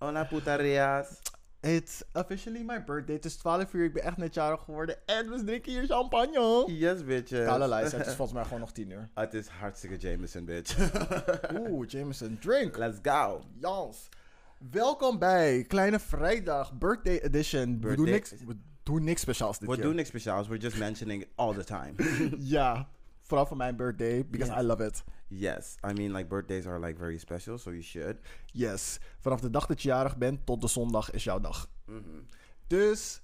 Hola putarias. It's officially my birthday. Het is 12 uur. Ik ben echt net jarig geworden. En we drinken hier champagne. Yes, bitches. Kale lijst. Het is volgens mij gewoon nog 10 uur. Het is hartstikke Jameson, bitch. Oeh, Jameson. Drink. Let's go. Jans. Welkom bij Kleine Vrijdag Birthday Edition. We, doen Birthday- niks, we doen niks speciaals dit We keer. doen niks speciaals. We're just mentioning it all the time. Ja. Vooral voor mijn birthday. Because Yes. I love it. yes. I mean, like, birthdays are, like, very special, so you should. Yes. Vanaf de dag dat je jarig bent tot de zondag is jouw dag. Dus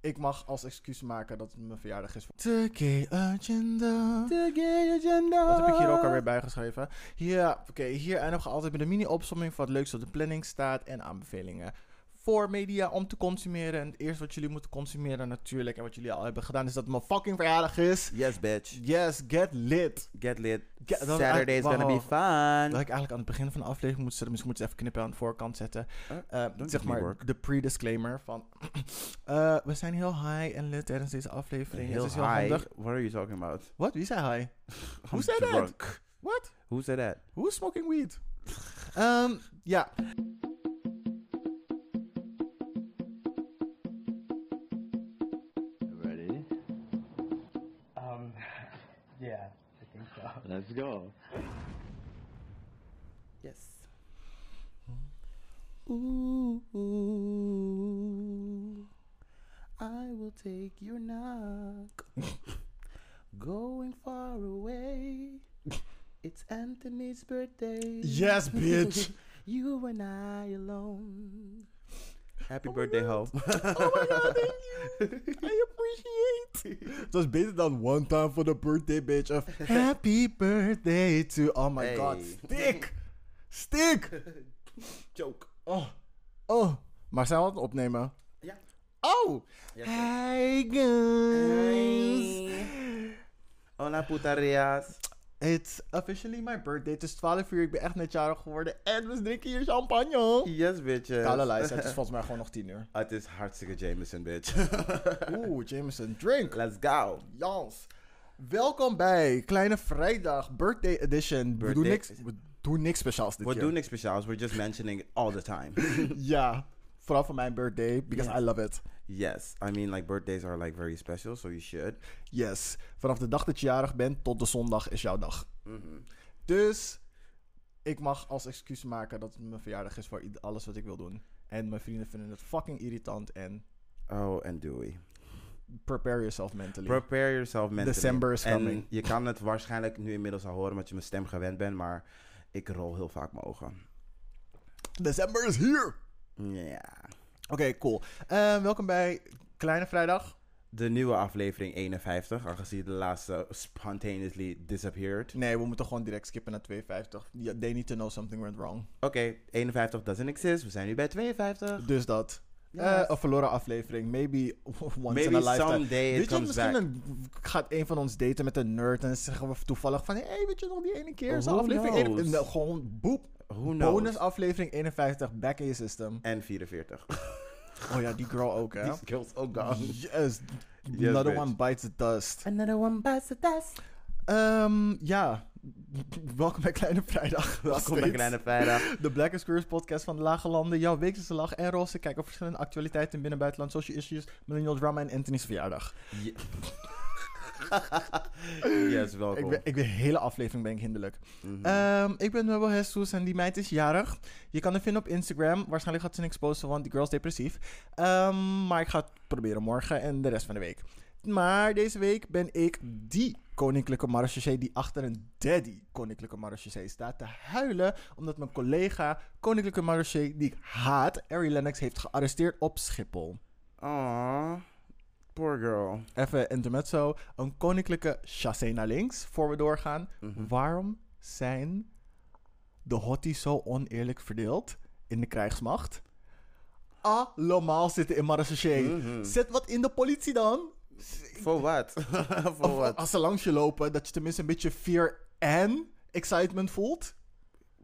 ik mag als excuus maken dat het mijn verjaardag is. The gay agenda. The gay agenda. Wat heb ik hier Eh. ook alweer bijgeschreven? Ja, oké. hier eindigen we altijd met een mini-opsomming van wat leuks op de planning staat en aanbevelingen. Voor media om te consumeren. En het eerste wat jullie moeten consumeren natuurlijk en wat jullie al hebben gedaan is dat het mijn fucking verjaardag is. Yes, bitch. Yes, get lit. Get lit. Get- dat- Saturday's gonna be wauw. fun. Dat had ik eigenlijk aan het begin van de aflevering moet zetten. Misschien moet ik het even knippen aan de voorkant zetten. Eh, Eh, doet zeg niet maar work. de pre-disclaimer van... eh, we zijn heel high en lit tijdens deze aflevering. Heel het is heel high. handig. What are you talking about? Wat? Wie zei high? Who I'm said that? drunk. What? Who said that? Who's smoking weed? Ehm, ja. Ready? Um, yeah, I think so. Let's go. Yes. I will take your knock. Going far away. It's Anthony's birthday. Yes, bitch. you and I alone. Happy birthday, ho. Oh my god, thank you. I appreciate. Het was beter dan one time for the birthday, bitch. Of happy birthday to... Oh my Hey. god, stik. Stik. Joke. Oh. Oh. Maar zijn we aan het opnemen? Ja. Oh. Hi guys. Hola, putarias. It's officially my birthday. Het is 12 uur. Ik ben echt net jarig geworden. En we drinken hier champagne. Yes, bitches. Kale lijst. Het is volgens mij gewoon nog 10 uur. Het is hartstikke Jameson, bitch. Oeh, Jameson. Drink. Let's go. Jans. Welkom bij Kleine Vrijdag Birthday Edition. We, doen Birthday- niks, we doen niks speciaals dit We keer. doen niks speciaals. We're just mentioning it all the time. Ja. Vooral voor mijn birthday. Because Yes. I love it. yes. I mean, like, birthdays are, like, very special, so you should. Yes. Vanaf de dag dat je jarig bent tot de zondag is jouw dag. Mhm. Dus ik mag als excuus maken dat het mijn verjaardag is voor ied- alles wat ik wil doen. En mijn vrienden vinden het fucking irritant. En Oh, en Dewey. prepare yourself mentally. Prepare yourself mentally. December is coming. En je kan het waarschijnlijk nu inmiddels al horen, omdat je mijn stem gewend bent, maar ik rol heel vaak mijn ogen. December is hier! Oké, Ja. cool. Eh, welkom bij Kleine Vrijdag. De nieuwe aflevering 51, aangezien de laatste spontaneously disappeared. Nee, we moeten gewoon direct skippen naar 52. Ja, they need to know something went wrong. Oké, 51 doesn't exist. We zijn nu bij 52. Dus dat. Yes. Eh, een verloren aflevering. Maybe once in a Maybe lifetime. someday it weet je, comes misschien back. een- gaat een van ons daten met een nerd en dan zeggen we toevallig van... Hé, hey, weet je nog die ene keer? Zo'n Who aflevering... één- knows? nou, gewoon boep. Who knows? Bonus aflevering 51, back in je system. En 44. Oh ja, die girl ook, hè? Die skills ook gone. Yes. Yes, Another bitch. one bites the dust. Another one bites the dust. Ehm, ja, welkom bij Kleine Vrijdag. Welkom bij Kleine Vrijdag. De Black is Curious podcast van de Lage Landen. Jouw weekse lach en roze kijk op verschillende actualiteiten in binnen- en buitenland. Social issues, millennial drama en Anthony's verjaardag. Ye- yes, welkom. Ik ben, ik ben hele aflevering ben ik hinderlijk. Mhm. Ehm, ik ben Mabel Jesus en die meid is jarig. Je kan haar vinden op Instagram. Waarschijnlijk gaat ze niks posten, want die girl is depressief. Ehm, maar ik ga het proberen morgen en de rest van de week. Maar deze week ben ik die koninklijke marechaussee die achter een daddy koninklijke marechaussee staat te huilen. Omdat mijn collega koninklijke marechaussee die ik haat, Ari Lennox, heeft gearresteerd op Schiphol. Aw, poor girl. Even intermezzo. Een koninklijke chassé naar links, voor we doorgaan. Mhm. Waarom zijn de hotties zo oneerlijk verdeeld in de krijgsmacht? Allemaal zitten in Marseille. Mhm. Zet wat in de politie dan. Voor wat? Voor Of wat? als ze langs je lopen, dat je tenminste een beetje fear en excitement voelt.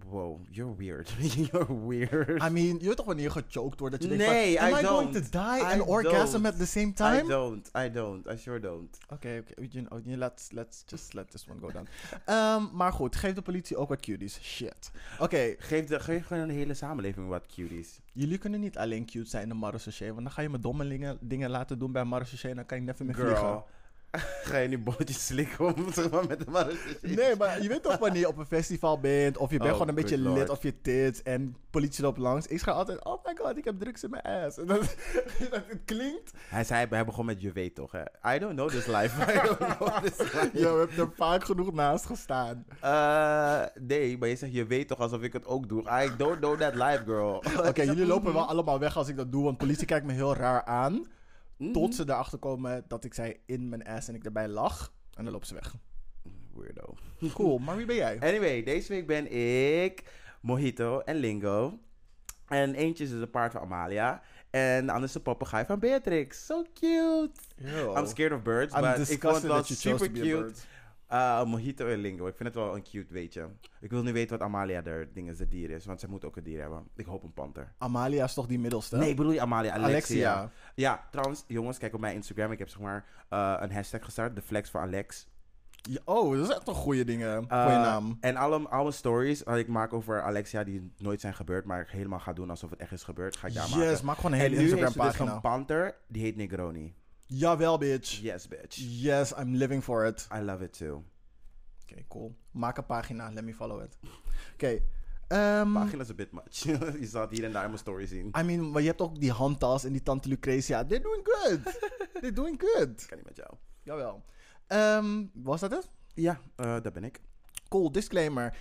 Wow, you're weird. you're weird. I mean, je weet toch wanneer je gechoked wordt dat je Nee, denkt van, I am I going to don't. die I and orgasm don't. at the same I time? don't. I don't. I sure don't. Oké, oké, you know, you- let's, let's just let this one go down. Ehm, maar goed, geef de politie ook wat cuties. Shit. Oké, Geef, de, geef gewoon een hele samenleving wat cuties. jullie kunnen niet alleen cute zijn in de Marseillais, want dan ga je me domme dingen, dingen laten doen bij Marseillais en dan kan je never meer vliegen. Girl. Ga je nu bolletjes slikken om zeg maar, met de marechaussee? Nee, maar je weet toch wanneer je op een festival bent of je bent Oh, gewoon een beetje good lord. lid of je tits en politie loopt langs. Ik ga altijd, oh my god, ik heb drugs in mijn ass. En dat, dat het klinkt. Hij zei, hij begon met je weet toch, hè? I don't know this life. I don't know this life. Je hebt er vaak genoeg naast gestaan. Eh, nee, maar je zegt je weet toch alsof ik het ook doe. I don't know that life, girl. Oké, jullie lopen wel allemaal weg als ik dat doe, want politie kijkt me heel raar aan. Tot ze erachter komen dat ik zij in mijn ass en ik erbij lag. En dan lopen ze weg. Weirdo. Cool, maar wie ben jij? Anyway, deze week ben ik Mojito en Lingo. En eentje is dus een paard van Amalia. En de ander is de papegaai van Beatrix. So cute. I'm scared of birds, Oh. I'm maar ik vond het disgusted wel that you chose super to be a cute. bird. Eh, Mojito en Lingo. Ik vind het wel een cute weetje. Ik wil nu weten wat Amalia er ding is, het dier is. Want zij moet ook een dier hebben. Ik hoop een panter. Amalia is toch die middelste? Nee, ik bedoel je Amalia? Alexia. Alexia. Ja, trouwens, jongens, kijk op mijn Instagram. Ik heb zeg maar eh, een hashtag gestart, de flex van Alex. Ja, oh, dat is echt een goede dingen. Eh, Goeie naam. En alle, alle stories die ik maak over Alexia die nooit zijn gebeurd, maar ik helemaal ga doen alsof het echt is gebeurd, ga ik daar maken. Yes, maak gewoon een en hele nu heeft ze dus Instagram-pagina. een panter, die heet Negroni. Jawel, bitch. Yes, bitch. Yes, I'm living for it. I love it Mm. too. Oké, cool. Maak een pagina. Let me follow it. Oké. ehm, Pagina is een bit much. je zal het hier en daar in mijn story zien. Ik I mean, maar je hebt ook die handtas en die tante Lucretia. They're doing good. They're doing good. kan niet met jou. Jawel. Ehm, was dat het? Ja, eh daar ben ik. Cool, disclaimer.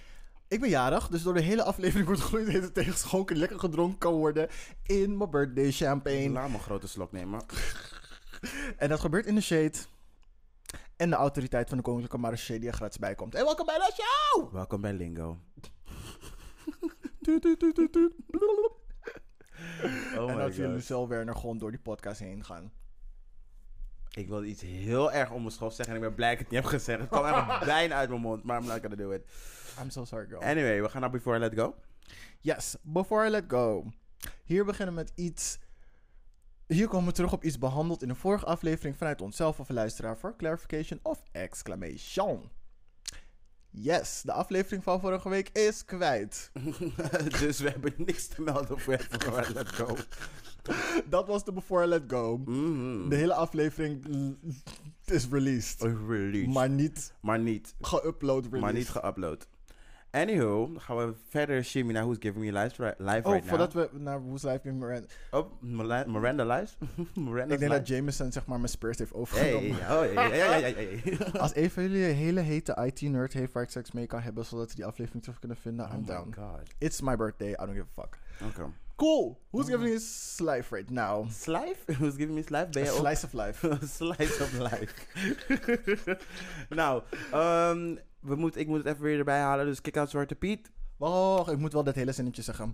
Ik ben jarig, dus door de hele aflevering wordt gloeiend hete thee geschonken. Lekker gedronken kan worden in mijn birthday champagne. Laat me een grote slok nemen. En dat gebeurt in de shade. En de autoriteit van de Koninklijke Marché die er gratis bij komt. En welkom bij de show! Welkom bij Lingo. Tuut, tuut, tuut, tuut, tuut. Blablabla. Oh en my dat jullie god. zo Werner gewoon door die podcast heen gaan. Ik wilde iets heel erg om mijn schof zeggen en ik ben blij dat ik het niet heb gezegd. Het kwam echt bijna uit mijn mond, maar I'm not gonna do it. I'm so sorry, girl. Anyway, we gaan naar Before I Let Go. Yes, before I let go. Hier beginnen we met iets. Hier komen we terug op iets behandeld in de vorige aflevering vanuit onszelf of een luisteraar voor clarification of exclamation. Yes, de aflevering van vorige week is kwijt. dus we hebben niks te melden voor Before I Let Go. Dat was de before I let go. Mhm. De hele aflefering l- is released, Released. Maar, maar niet niet. geüpload released. Oh, Maar niet geüpload. Anywho, dan gaan we verder shimmy naar Who's Giving Me Life, ri- live Oh, right voordat now. we naar Who's Life in Miranda. Oh, Mila- Miranda Lives? Miranda Ik denk dat Jameson zeg maar mijn spirit heeft Hey, overgenomen. oh, hey, hey, hey, hey, hey. Als een van jullie een hele hete IT-nerd heeft waar ik seks mee kan hebben, zodat we die aflevering terug kunnen vinden, Oh I'm my down. god. It's my birthday, I don't give a fuck. Oké. Cool! Who's Oh. giving his life right now? Slife? Who's Giving Me Life? Ben A je ook slice of life. Slice of life. nou, ehm, we moet, ik moet het even weer erbij halen. Dus kick out Zwarte Piet. Wacht, ik moet wel dat hele zinnetje zeggen.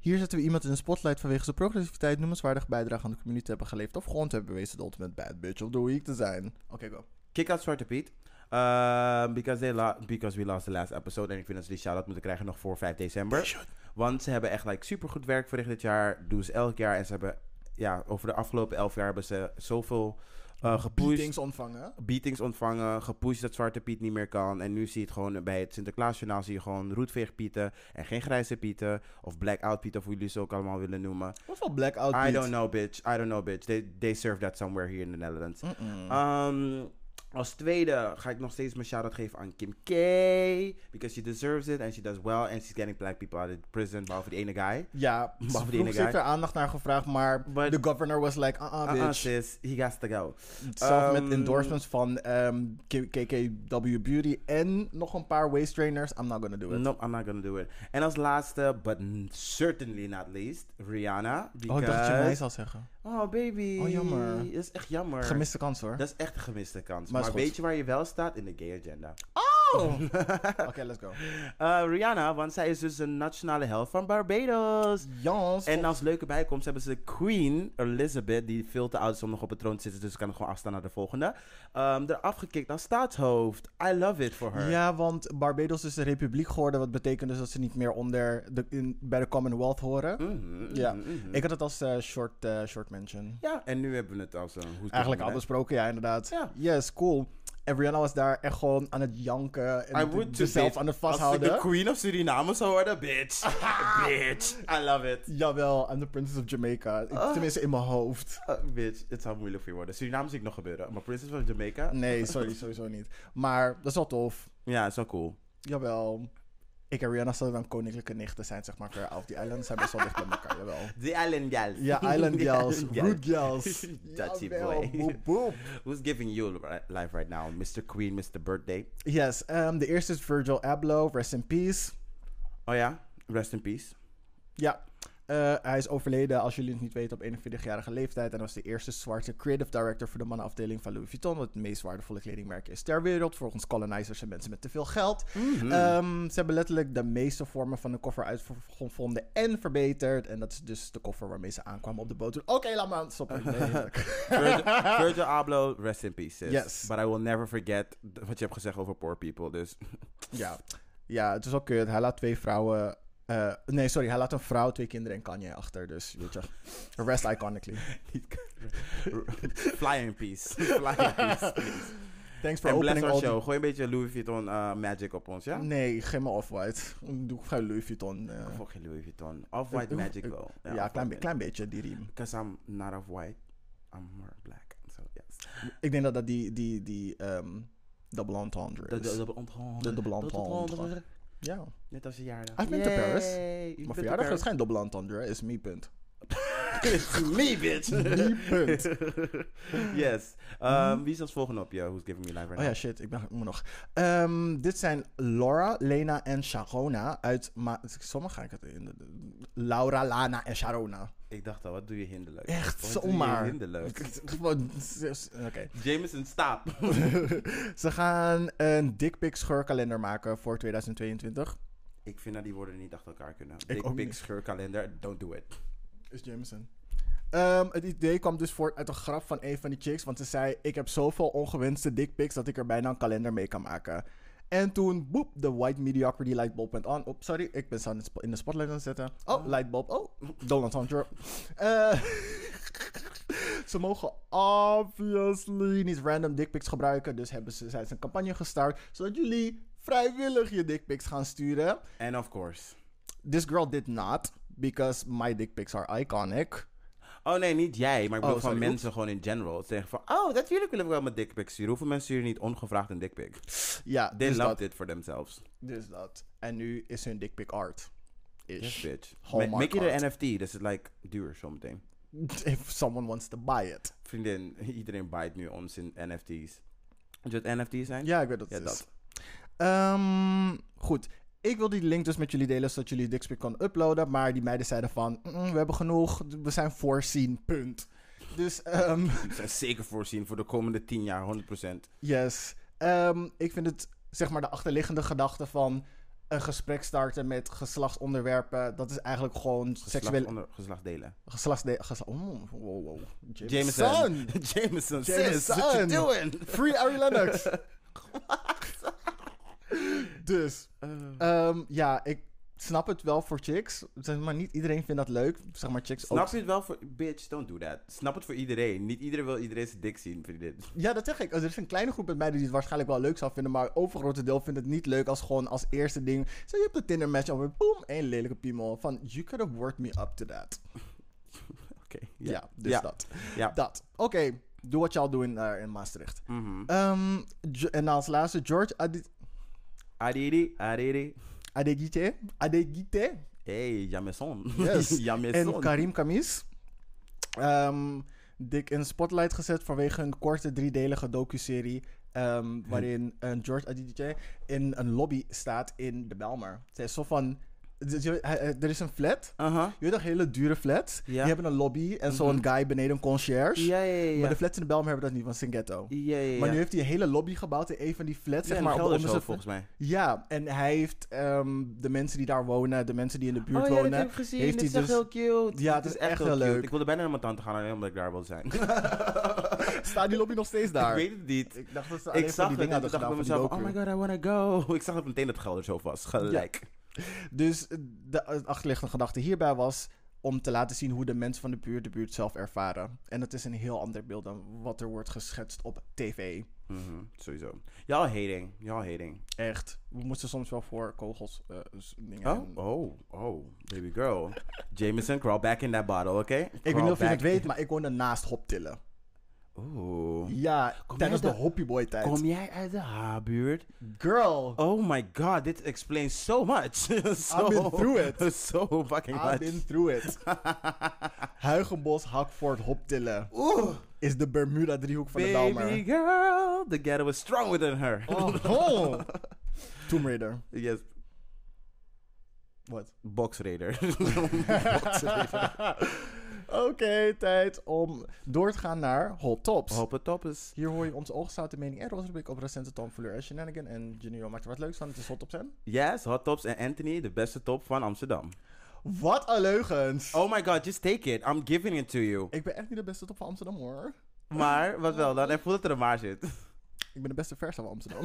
Hier zetten we iemand in de spotlight vanwege zijn progressiviteit, noemenswaardige bijdrage aan de community te hebben geleverd of gewoon te hebben bewezen de ultimate bad bitch of the week te zijn. Oké, go. Kick out Zwarte Piet. Ehm, because, they lo- because we lost the last episode. En ik vind dat ze die shout-out moeten krijgen nog voor 5 december. Want ze hebben echt like, super goed werk verricht dit jaar. Doen ze elk jaar. En ze hebben ja, over de afgelopen 11 jaar hebben ze zoveel eh gepusht. Beatings ontvangen. beatings ontvangen, gepusht dat Zwarte Piet niet meer kan. En nu zie je het gewoon bij het Sinterklaasjournaal, zie je gewoon roetveegpieten en geen grijze pieten. Of blackout pieten, of hoe jullie ze ook allemaal willen noemen. Wat voor blackout I beat? don't know, bitch. I don't know, bitch. They, they serve that somewhere here in the Netherlands. Mm-mm. Ehm, als tweede ga ik nog steeds mijn shout-out geven aan Kim K. Because she deserves it and she does well. And she's getting black people out of prison, behalve die ene guy. Ja, Maar ze voor die vroeg, ene ze heeft guy. er aandacht naar gevraagd, maar But- de governor was like, uh-uh, Ah, bitch. uh sis. He has to go. Zelf Ehm, met endorsements van ehm, K- KKW Beauty en nog een paar waist trainers. I'm not gonna do it. Nope, I'm not gonna do it. En als laatste, but n- certainly not least, Oh, Rihanna. Because... zou zeggen. Oh, baby. Oh, jammer. Dat is echt jammer. Gemiste kans hoor. Dat is echt een gemiste kans. Maar Maar, is goed. weet je waar je wel staat? In de gay agenda. Oh! Oké, let's go. Eh, Rihanna, want zij is dus een nationale held van Barbados. Jans. En als leuke bijkomst hebben ze Queen Elizabeth, die veel te oud is om nog op het troon te zitten, dus kan gewoon afstaan naar de volgende. Ehm eraf gekikt als staatshoofd. I love it for her. Ja, want Barbados is de republiek geworden. Wat betekent dus dat ze niet meer onder de, in- bij de Commonwealth horen. Mhm, Ja. mhm, mhm. Ik had het als eh, short, eh, short mention. Ja, en nu hebben we het als een hoe Eigenlijk al besproken, ja, inderdaad. Ja. Yes, cool. En Rihanna was daar echt gewoon aan het janken. I En would de- too, zelf bitch. aan het Als ik de vasthouden. Queen of Suriname zou worden, bitch. bitch. I love it. Jawel, I'm the princess of Jamaica. Ik- Ah. Tenminste, in mijn hoofd. Eh, bitch, het zou moeilijk voor je worden. Suriname zie ik nog gebeuren, maar Princess of Jamaica? Nee, sorry, sowieso niet. Maar dat is wel tof. Ja, is wel cool. Jawel. Ik en Rihanna zouden dan koninklijke nichten zijn, zeg maar. Of die islands zijn best wel dicht bij elkaar, jawel. The Island Gals. Ja, island The gals, island root gals. Dutchy Jawel, boy. boep, boep. Who's giving you li- life right now? Mr. Queen, Mr. Birthday. Yes, ehm, de eerste is Virgil Abloh, rest in peace. Oh ja, rest in peace. Ja, eh, hij is overleden, als jullie het niet weten, op 41-jarige leeftijd. En was de eerste zwarte creative director voor de mannenafdeling van Louis Vuitton. Wat het meest waardevolle kledingmerk is ter wereld. Volgens colonizers en mensen met te veel geld. Mhm. Ehm, ze hebben letterlijk de meeste vormen van een koffer uitgevonden en verbeterd. En dat is dus de koffer waarmee ze aankwamen op de boot. toen. Oké, laat maar stoppen. Nee, Virgil, Virgil Abloh, rest in peace. sis. Yes. But I will never forget d- wat je hebt gezegd over poor people. Dus ja. ja, het is wel kut. Hij laat twee vrouwen... eh, nee, sorry. Hij laat een vrouw, twee kinderen en Kanye achter. Dus weet je, rest iconically. fly in peace. Fly in peace, please. Thanks for En bless opening Mm. our all the show. Gooi een beetje Louis Vuitton eh, magic op ons, ja? Nee, geen maar Off-White. Ik Doe geen Louis Vuitton. eh. Ik volg geen Louis Vuitton. Off-white Ik- ik- magic ik- wel. ja, klein, be- klein beetje, die riem. Because I'm not off-white. I'm more black. So yes. Ik denk dat dat die, die, die ehm double entendre De, is. de, de, onthouden. De dubbele entendre. ja. Net als je jaardag. I've been to Paris. Yay, you've Maar been to verjaardag is Paris. geen double entendre, is me punt. It's me, bitch. Me punt. yes. Um, wie is als volgende op je Who's Giving Me Life Right Oh ja, shit, ik ben ik moet nog. Ehm, dit zijn Laura, Lena en Sharona uit... Ma Sommige ga ik het in. de- de- Laura, Lana en Sharona. Ik dacht al, wat doe je hinderlijk? Echt wat Doe zomaar. je hinderlijk? Gewoon, Oké. Jameson, stop. Ze gaan een dickpic scheurkalender maken voor 2022. ik vind dat die woorden niet achter elkaar kunnen. Ik ook Dick pic, niet. scheurkalender, don't do it. Is Jameson. Ehm, het idee kwam dus voort uit een grap van een van die chicks. Want ze zei: Ik heb zoveel ongewenste dickpics dat ik er bijna een kalender mee kan maken. En toen, boep, de white mediocrity lightbulb went aan. Oh, sorry, ik ben ze aan het spo- in de spotlight aan het zetten. Oh, lightbulb. Oh, Donald Trump. Eh, ze mogen obviously niet random dickpics gebruiken. Dus hebben ze, zijn ze een campagne gestart. Zodat jullie vrijwillig je dickpics gaan sturen. En of course. This girl did not. Because my dickpics are iconic. Oh nee, niet jij, maar ik bedoel van Oh, sorry, mensen gewoon in general. Ze zeggen van, oh, natuurlijk wil ik wel mijn dickpic sturen. Hoeveel mensen sturen niet ongevraagd een dickpic? Ja, They dus loved dat. it for themselves. Dus dat. En nu is hun dickpic art. Yes, Ish. bitch. Ma- Hallmark Make it an art. NFT, dus het like duur something. If someone wants to buy it. Vriendin, iedereen bijt nu ons in NFT's. Moet je het NFT's zijn? Ja, ik weet dat Ja, het is. dat. Ehm, goed. Ik wil die link dus met jullie delen, zodat jullie dickpic kan uploaden. Maar die meiden zeiden van, "Mm, we hebben genoeg. We zijn voorzien, punt. Dus, ehm, Die zijn zeker voorzien voor de komende 10 jaar, 100%. yes. Ehm, ik vind het, zeg maar, de achterliggende gedachte van... een gesprek starten met geslachtsonderwerpen. Dat is eigenlijk gewoon Geslacht, seksueel... onder, geslacht delen. Geslachtsde... Gesla oh, wow, wow. Jameson. Jameson, sis, what you Jameson. doing? Free Ari Lennox. dus, Eh. ehm, ja, ik snap het wel voor chicks. Zeg maar niet iedereen vindt dat leuk. Zeg maar chicks Snap ook. je het wel voor... Bitch, don't do that. Snap het voor iedereen. Niet iedereen wil iedereen zijn dik zien, vriendin. Ja, dat zeg ik. Er is een kleine groep met meiden die het waarschijnlijk wel leuk zou vinden. Maar overgrote deel vindt het niet leuk als gewoon als eerste ding. Zo, je hebt de Tinder match alweer. Boom, één lelijke piemel. Van, you could have worked me up to that. Oké. Ja, dus dat. Ja. Dat. Oké, doe wat y'all doen eh, in Maastricht. Mhm. Ehm, Jo- en als laatste, George Adi- Adidi, Adidi. Adegite. Adegite. Hey, Jameson. Yes. Jameson. En Karim Kamis. Ehm, dik in de spotlight gezet vanwege een korte driedelige docuserie. ehm Hm. waarin een George Aditya in een lobby staat in de Belmer. Zij is zo van. dus je weet, hij- hij- er is een flat. Aha. Je weet toch, hele dure flats. Ja. Mhm. Die hebben een lobby en zo'n guy beneden, een concierge. Ja, ja, ja. ja. Maar de flats in de Belm hebben dat niet, want het is een ghetto. ja, ja, ja. Maar nu heeft hij een hele lobby gebouwd in een van die flats. ja, zeg in maar, op de Gelderse onderste- volgens mij. Ja, en hij heeft ehm, de mensen die daar wonen, de mensen die in de buurt oh ja, dat wonen. heb ik gezien. heeft Dit hij is echt dus- heel cute. Ja, Dit het is echt heel cute. leuk. Ik wilde bijna naar mijn tante gaan alleen omdat ik daar wilde zijn. Staat die lobby nog steeds daar? ik weet het niet. Ik dacht dat ze alleen Ik voor zag die het en toen dingen hadden dacht ik gedaan bij van die mezelf, oh docu. my god, I wanna go. Ik zag het meteen dat het Geldershoof was, gelijk. Dus de het achterliggende gedachte hierbij was om te laten zien hoe de mensen van de buurt de buurt zelf ervaren. En dat is een heel ander beeld dan wat er wordt geschetst op tv. Mhm, sowieso. Y'all hating, y'all hating. Echt. We moesten soms wel voor kogels eh, s- dingen. Oh, oh, oh, baby girl. Jameson, crawl back in that bottle, oké? Ik weet niet of je het weet, maar ik woonde naast Hoptillen. Oeh. Ja, Oh. Kom tijdens de jij Hoppyboy tijd. Kom jij uit de H-buurt? Girl! Oh my god, this explains so much. so, been through it. So fucking I've much. been through it. Huigenbos, Hakvoort, Hoptillen. Oeh, Is de Bermuda-driehoek van de baby Belmer. girl, the ghetto was strong within her. Oh. Tomb Raider. yes, Wat? Box Raider. Oké, tijd om door te gaan naar Hot Tops. Hoop het top is. Hier hoor je onze ooggezouten mening en rubrik op recente Tom Fuller en Shenanigan. En Junior maakt er wat leuks van. Het is Hot Tops en... Yes, Hot Tops en Anthony, de beste top van Amsterdam. Wat een leugens! Oh my god, just take it. I'm giving it to you. Ik ben echt niet de beste top van Amsterdam hoor. Maar, wat wel dan? En voel dat er een maar zit. Ik ben de beste vers van Amsterdam.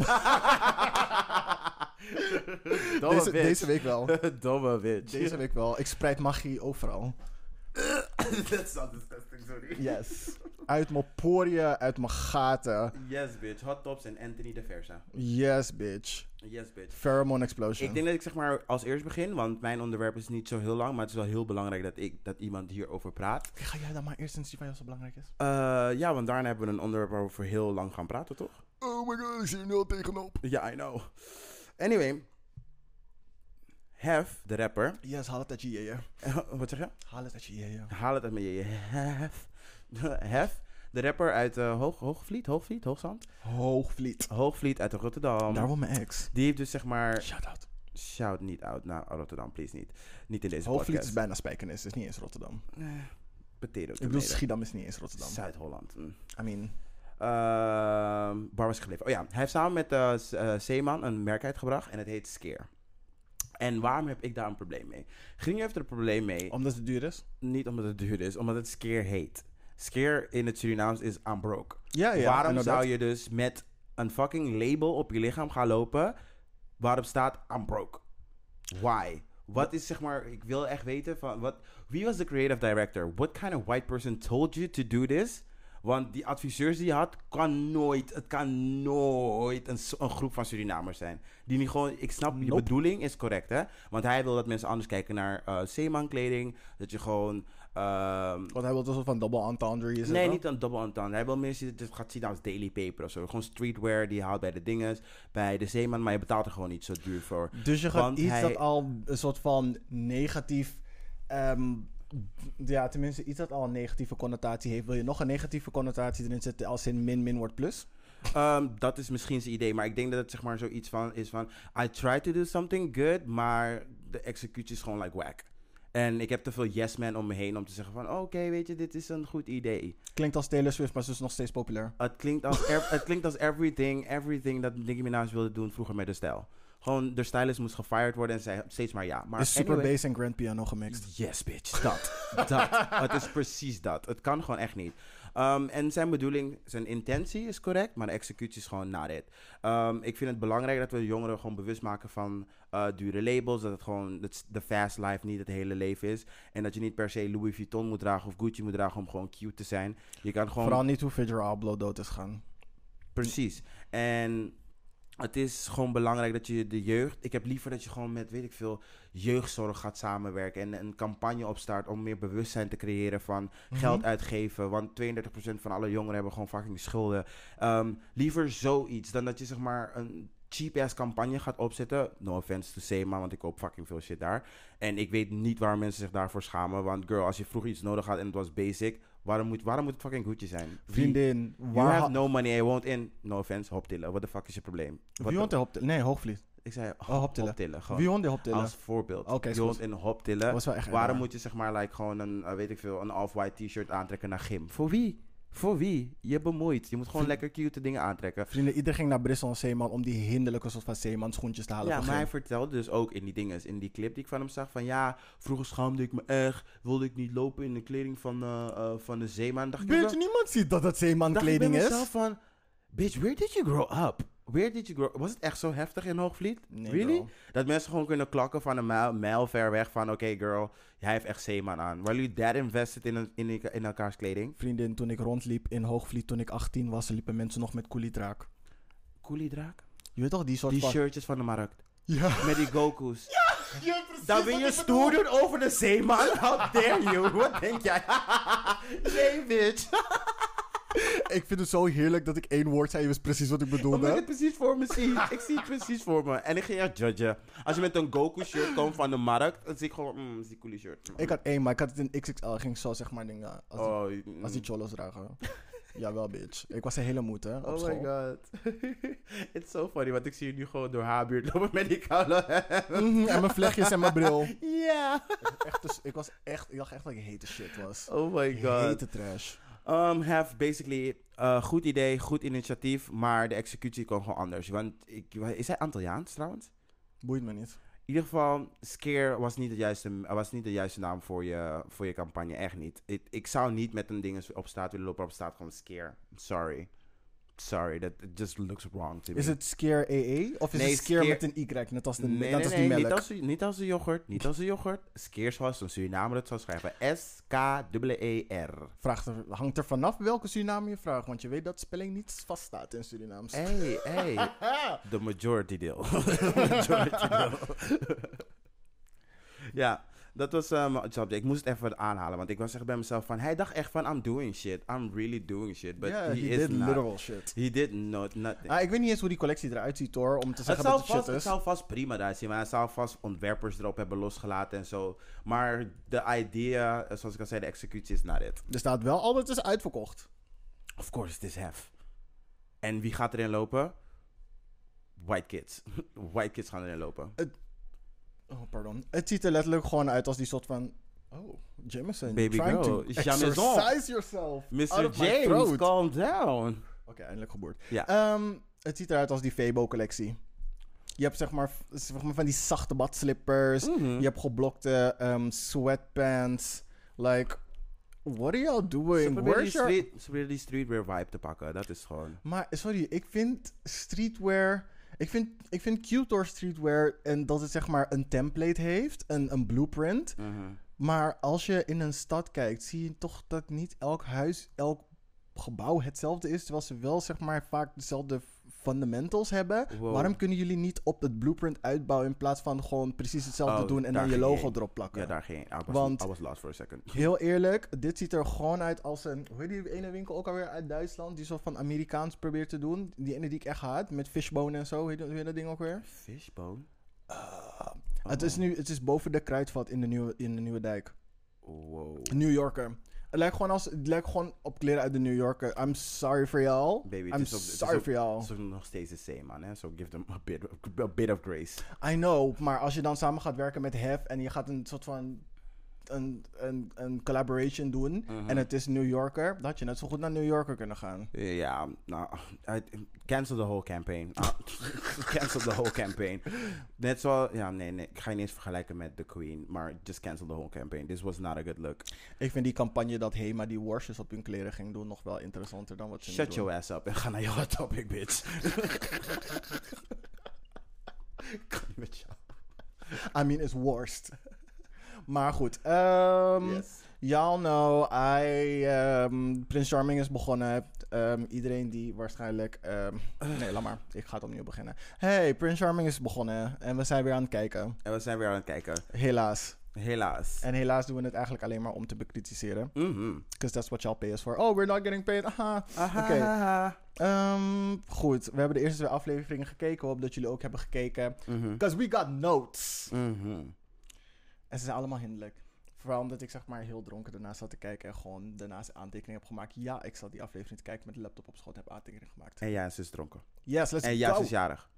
Domme deze, bitch. deze week wel. Domme bitch. Deze week wel. Ik spreid magie overal. That's not disgusting, sorry. Yes. Uit mijn poriën, uit mijn gaten. Yes, bitch. Hot Tops en Anthony de Versa. Yes, bitch. Yes, bitch. Pheromone explosion. Ik denk dat ik zeg maar als eerst begin, want mijn onderwerp is niet zo heel lang, maar het is wel heel belangrijk dat, ik, dat iemand hierover praat. Ga jij dan maar eerst eens die van jou zo belangrijk is? Eh, ja, want daarna hebben we een onderwerp waar we voor heel lang gaan praten, toch? Oh my god, ik zie er nu al tegenop. Ja, I know. Anyway. Hef, de rapper. Yes, haal het uit je jeeën. Wat zeg je? Haal het uit je jeeën. Haal het uit mijn je. Hef. Hef, de rapper uit eh, Hoog, Hoogvliet, Hoogvliet, Hoogzand. Hoogvliet. Hoogvliet uit Rotterdam. Um, Daar woont mijn ex. Die heeft dus zeg maar... Shout-out. Shout niet out naar Rotterdam, please niet. Niet in deze Hoogvliet is podcast. bijna Spijkenis, is niet eens Rotterdam. Potato Ik bedoel, tomato. Schiedam is niet eens Rotterdam. Zuid-Holland. mm. I mean, Ehm waar was ik gebleven? Oh ja, hij heeft samen met eh, S- eh, Zeeman een merk uitgebracht en het heet Skeer. En waarom heb ik daar een probleem mee? Grinje heeft er een probleem mee, omdat het duur is. niet omdat het duur is, omdat het Skeer heet. Skeer in het Surinaams is aan broke. Ja, ja. waarom inderdaad. zou je dus met een fucking label op je lichaam gaan lopen waarop staat I'm broke? Why? Wat is zeg maar, ik wil echt weten van wat, wie was de creative director? What kind of white person told you to do this? Want die adviseurs die je had, kan nooit, het kan nooit een, s- een groep van Surinamers zijn. Die niet gewoon, ik snap, je Nope. bedoeling is correct hè. Want hij wil dat mensen anders kijken naar eh zeeman kleding. Dat je gewoon, ehm, Want hij wil alsof van double entendre is. Nee, niet een double entendre. Hij wil meer zien, het gaat zien als daily paper of zo. Gewoon streetwear die je haalt bij de dinges, bij de zeeman, maar je betaalt er gewoon niet zo duur voor. Dus je gaat Want iets hij- dat al een soort van negatief... ehm, ja, tenminste iets dat al een negatieve connotatie heeft. Wil je nog een negatieve connotatie erin zetten als in min, min wordt plus? Ehm, dat is misschien zijn idee, maar ik denk dat het zeg maar zoiets van is van, I try to do something good, maar de executie is gewoon like whack. En ik heb te veel yes man om me heen om te zeggen van, oké, weet je, dit is een goed idee. Klinkt als Taylor Swift, maar ze is nog steeds populair. Het klinkt als, ev- het klinkt als everything, everything dat Nicki Minaj wilde doen vroeger met de stijl. Gewoon, de stylist moest gefired worden en zij steeds maar ja. Maar is super anyway- bass en grand piano gemixt. Yes, bitch. Dat. dat. Het is precies dat. Het kan gewoon echt niet. Ehm, en zijn bedoeling, zijn intentie is correct, maar de executie is gewoon not it. Ehm, ik vind het belangrijk dat we de jongeren gewoon bewust maken van eh, dure labels. Dat het gewoon dat s- de fast life niet het hele leven is. En dat je niet per se Louis Vuitton moet dragen of Gucci moet dragen om gewoon cute te zijn. Je kan gewoon... Vooral niet hoe Fidger Abloh dood is gaan. Precies. En het is gewoon belangrijk dat je de jeugd. Ik heb liever dat je gewoon met, weet ik veel, jeugdzorg gaat samenwerken. En een campagne opstart om meer bewustzijn te creëren van geld uitgeven. Want 32% van alle jongeren hebben gewoon fucking schulden. Ehm, liever zoiets dan dat je zeg maar een cheap-ass campagne gaat opzetten. No offense to Sema, want ik koop fucking veel shit daar. En ik weet niet waar mensen zich daarvoor schamen. Want girl, als je vroeger iets nodig had en het was basic, waarom moet, waarom moet het fucking goedje zijn? Wie- Vriendin, You waar... have ha- no money, I won't in. No offense, Hoptilla. What the fuck is je probleem? Wat Wie de- woont er op de... Nee, Hoogvliet. Ik zei, oh, Oh, hoptillen. hoptillen. gewoon. Wie won die hoptillen? Als voorbeeld. Oké, is je hond goed. in Dat hoptillen. was wel echt Waarom raar. moet je zeg maar like, gewoon een, eh, weet ik veel, een off-white t-shirt aantrekken naar gym? Voor wie? Voor wie? Je bemoeit. Je moet gewoon lekker cute dingen aantrekken. Vrienden, iedereen ging naar Bristol en Zeeman om die hinderlijke soort van Zeeman schoentjes te halen. Ja, voor maar hij geen- vertelde dus ook in die dingen, in die clip die ik van hem zag, van ja, vroeger schaamde ik me echt, wilde ik niet lopen in de kleding van, eh, eh, van de zeeman. Dacht ik bij Bitch, niemand ziet dat dat Zeeman dacht ik bij kleding mezelf is. van, bitch, where did you grow up? Where did you grow Was het echt zo heftig in Hoogvliet? Nee, really? bro. Dat mensen gewoon kunnen klakken van een mijl, mijl ver weg van, oké girl, jij heeft echt zeeman aan. Waar jullie that invested in, een- in, elka- in elkaars kleding? Vriendin, toen ik rondliep in Hoogvliet toen ik 18 was, liepen mensen nog met koeliedraak. Koeliedraak? Je weet toch, die soort Die van... shirtjes van de markt. Ja. Met die Goku's. Ja, precies Dan wil wat je ik stoer bedoel. doen over de zeeman? How dare you? Wat denk jij? nee, bitch. Ik vind het zo heerlijk dat ik één woord zei, je wist precies wat ik Omdat ik bedoelde. het precies voor me zie. ik zie het precies voor me. En ik ging echt judgen. Als je met een Goku-shirt komt van de markt, dan zie ik gewoon, mm, dat is die coole shirt. Mm. Ik had één, maar ik had het in XXL, ging zo zeg maar dingen, als, oh, die, als die cholos dragen. Jawel, bitch. Ik was een hele moed, hè, op Oh school. my god. It's so funny, want ik zie je nu gewoon door haar buurt lopen met die koude. Mhm, en mijn vlechtjes en mijn bril. Ja. Echt, dus, ik was echt, ik dacht echt dat ik hete shit was. Oh my god. Hete trash. Um, have basically eh, goed idee, goed initiatief, maar de executie kon gewoon anders. Want ik, is hij Antilliaans trouwens? Boeit me niet. In ieder geval, Scare was niet de juiste, was niet de juiste naam voor je, voor je campagne. Echt niet. Ik, ik zou niet met een ding op straat willen lopen op straat. Gewoon Scare. Sorry. Sorry, that it just looks wrong to me. Is het Scare AA? Of is Nee, het Scare, Scare- met een Y, net als, de, Nee, nee, net als nee, die melk? niet als, niet als de yoghurt. Niet als de yoghurt. Scare zoals een Surinamer dat zou schrijven. E S-K-E-E-R. Vraagt er, hangt er vanaf welke Suriname je vraagt, want je weet dat spelling niet vaststaat in Surinaams. Hey, hey. De majority deel. majority deel. ja, dat was ehm, het subject. Ik moest het even aanhalen, want ik was echt bij mezelf van... Hij dacht echt van, I'm doing shit. I'm really doing shit. But yeah, he, he, is did not. literal shit. He did not, nothing. Ah, ik weet niet eens hoe die collectie eruit ziet hoor, om te het zeggen zou, dat het vast, shit dus. het is. zou vast prima daar zien, maar hij zou vast ontwerpers erop hebben losgelaten en zo. Maar de idea, eh, zoals ik al zei, de executie is not it. Er staat wel al, het is uitverkocht. Of course, it is hef. En wie gaat erin lopen? White kids. White kids gaan erin lopen. Oh, pardon. Het ziet er letterlijk gewoon uit als die soort van... Oh, Jameson, Baby trying girl, to Jameson. exercise yourself out Mr. of my James, throat. Oké, calm down. Eh, eindelijk geboord. Ja. Ehm, het ziet eruit als die Febo-collectie. Je hebt zeg maar, zeg maar van die zachte badslippers. Mhm. Je hebt geblokte ehm, sweatpants. Like, what are y'all doing? Ze proberen Where's die, your- street, ze proberen die streetwear vibe te pakken. Dat is gewoon. Maar sorry, ik vind streetwear. Ik vind, ik vind Qtor streetwear en dat het zeg maar een template heeft, een, een blueprint. Maar als je in een stad kijkt, zie je toch dat niet elk huis, elk gebouw hetzelfde is. Terwijl ze wel zeg maar vaak dezelfde fundamentals hebben. Wow. Waarom kunnen jullie niet op het blueprint uitbouwen in plaats van gewoon precies hetzelfde Oh, doen daar en dan je ging je logo heen. erop plakken? Ja, daar ging. I was, Want- I was lost for a second. Heel eerlijk, dit ziet er gewoon uit als een. Hoe heet die ene winkel ook alweer uit Duitsland? Die soort van Amerikaans probeert te doen. Die ene die ik echt haat, met fishbone en zo. Hoe heet dat- hoe heet dat ding ook weer? Fishbone? Oh, Het, is nu, het is boven de kruidvat in de, nieuwe, in de Nieuwe Dijk. Wow. New Yorker. Het lijkt gewoon, als, het lijkt gewoon op kleren uit de New Yorker. I'm sorry for y'all. Baby, het I'm is ook- het is sorry ook- for y'all. Het is nog steeds de same, man. Hè? So give them a bit, a bit of grace. I know, maar als je dan samen gaat werken met Hef en je gaat een soort van. Een, een, een collaboration doen Mhm. en het is New Yorker, dan had je net zo goed naar New Yorker kunnen gaan. Ja, nou, uit- cancel the whole campaign. Ah, cancel the whole campaign. Net zo, ja, nee, nee. Ik ga je niet eens vergelijken met The Queen, maar just cancel the whole campaign. This was not a good look. Ik vind die campagne dat Hema die washes op hun kleren ging doen nog wel interessanter dan wat ze nu Shut doen. your ass up en ga naar jouw topic, bitch. kan niet met jou. I mean, it's worst. maar goed. ehm Y'all know, I, ehm, Prince Charming is begonnen. Ehm, iedereen die waarschijnlijk... ehm, nee, laat maar. Ik ga het opnieuw beginnen. Hey, Prince Charming is begonnen. En we zijn weer aan het kijken. En we zijn weer aan het kijken. Helaas. Helaas. En helaas doen we het eigenlijk alleen maar om te bekritiseren. Mhm. Because that's what y'all pay us for. Oh, we're not getting paid. Aha. Aha. Oké. Ehm, goed, we hebben de eerste twee afleveringen gekeken. We hopen dat jullie ook hebben gekeken. Mhm. Because we got notes. Mhm. En ze zijn allemaal hinderlijk. Vooral omdat ik zeg maar heel dronken daarnaast zat te kijken en gewoon daarnaast aantekeningen heb gemaakt. Ja, ik zat die aflevering te kijken met de laptop op schoot en heb aantekeningen gemaakt. En jij is dus dronken. Yes, let's En jij go. is jarig.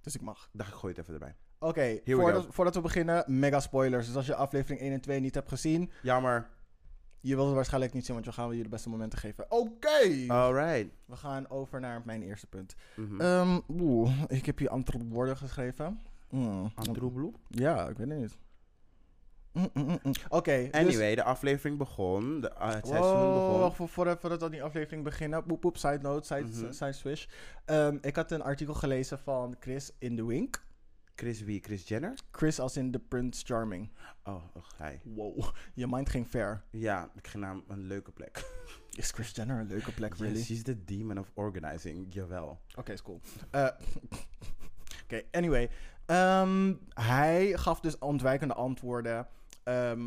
Dus ik mag. Dacht ik, gooi het even erbij. Oké, we voordat, go. voordat we beginnen, mega spoilers. Dus als je aflevering 1 en 2 niet hebt gezien, Jammer. je wilt het waarschijnlijk niet zien, want we gaan jullie de beste momenten geven. Oké! Eh. Alright. We gaan over naar mijn eerste punt. Mhm. Ehm, Oeh, ik heb hier andere woorden geschreven. Mm. Antroebloep. Ja, ik weet het niet. Mm, mm, mm, mm. Oké, dus- Anyway, de aflevering begon. De, eh, het seizoen Wow, begon. Oh, wacht, voor, voordat, voordat we aan die aflevering beginnen. Boep, boep, side note, side, Mhm. side swish. Ehm, ik had een artikel gelezen van Chris in the Wink. Chris wie? Chris Jenner? Chris als in The Prince Charming. Oh, och, hij. Wow, je mind ging ver. Ja, ik ging naar een leuke plek. Is Chris Jenner een leuke plek, really? Yes, she's the demon of organizing. Jawel. Oké, is cool. Eh, Oké, anyway. Ehm, hij gaf dus ontwijkende antwoorden. ehm,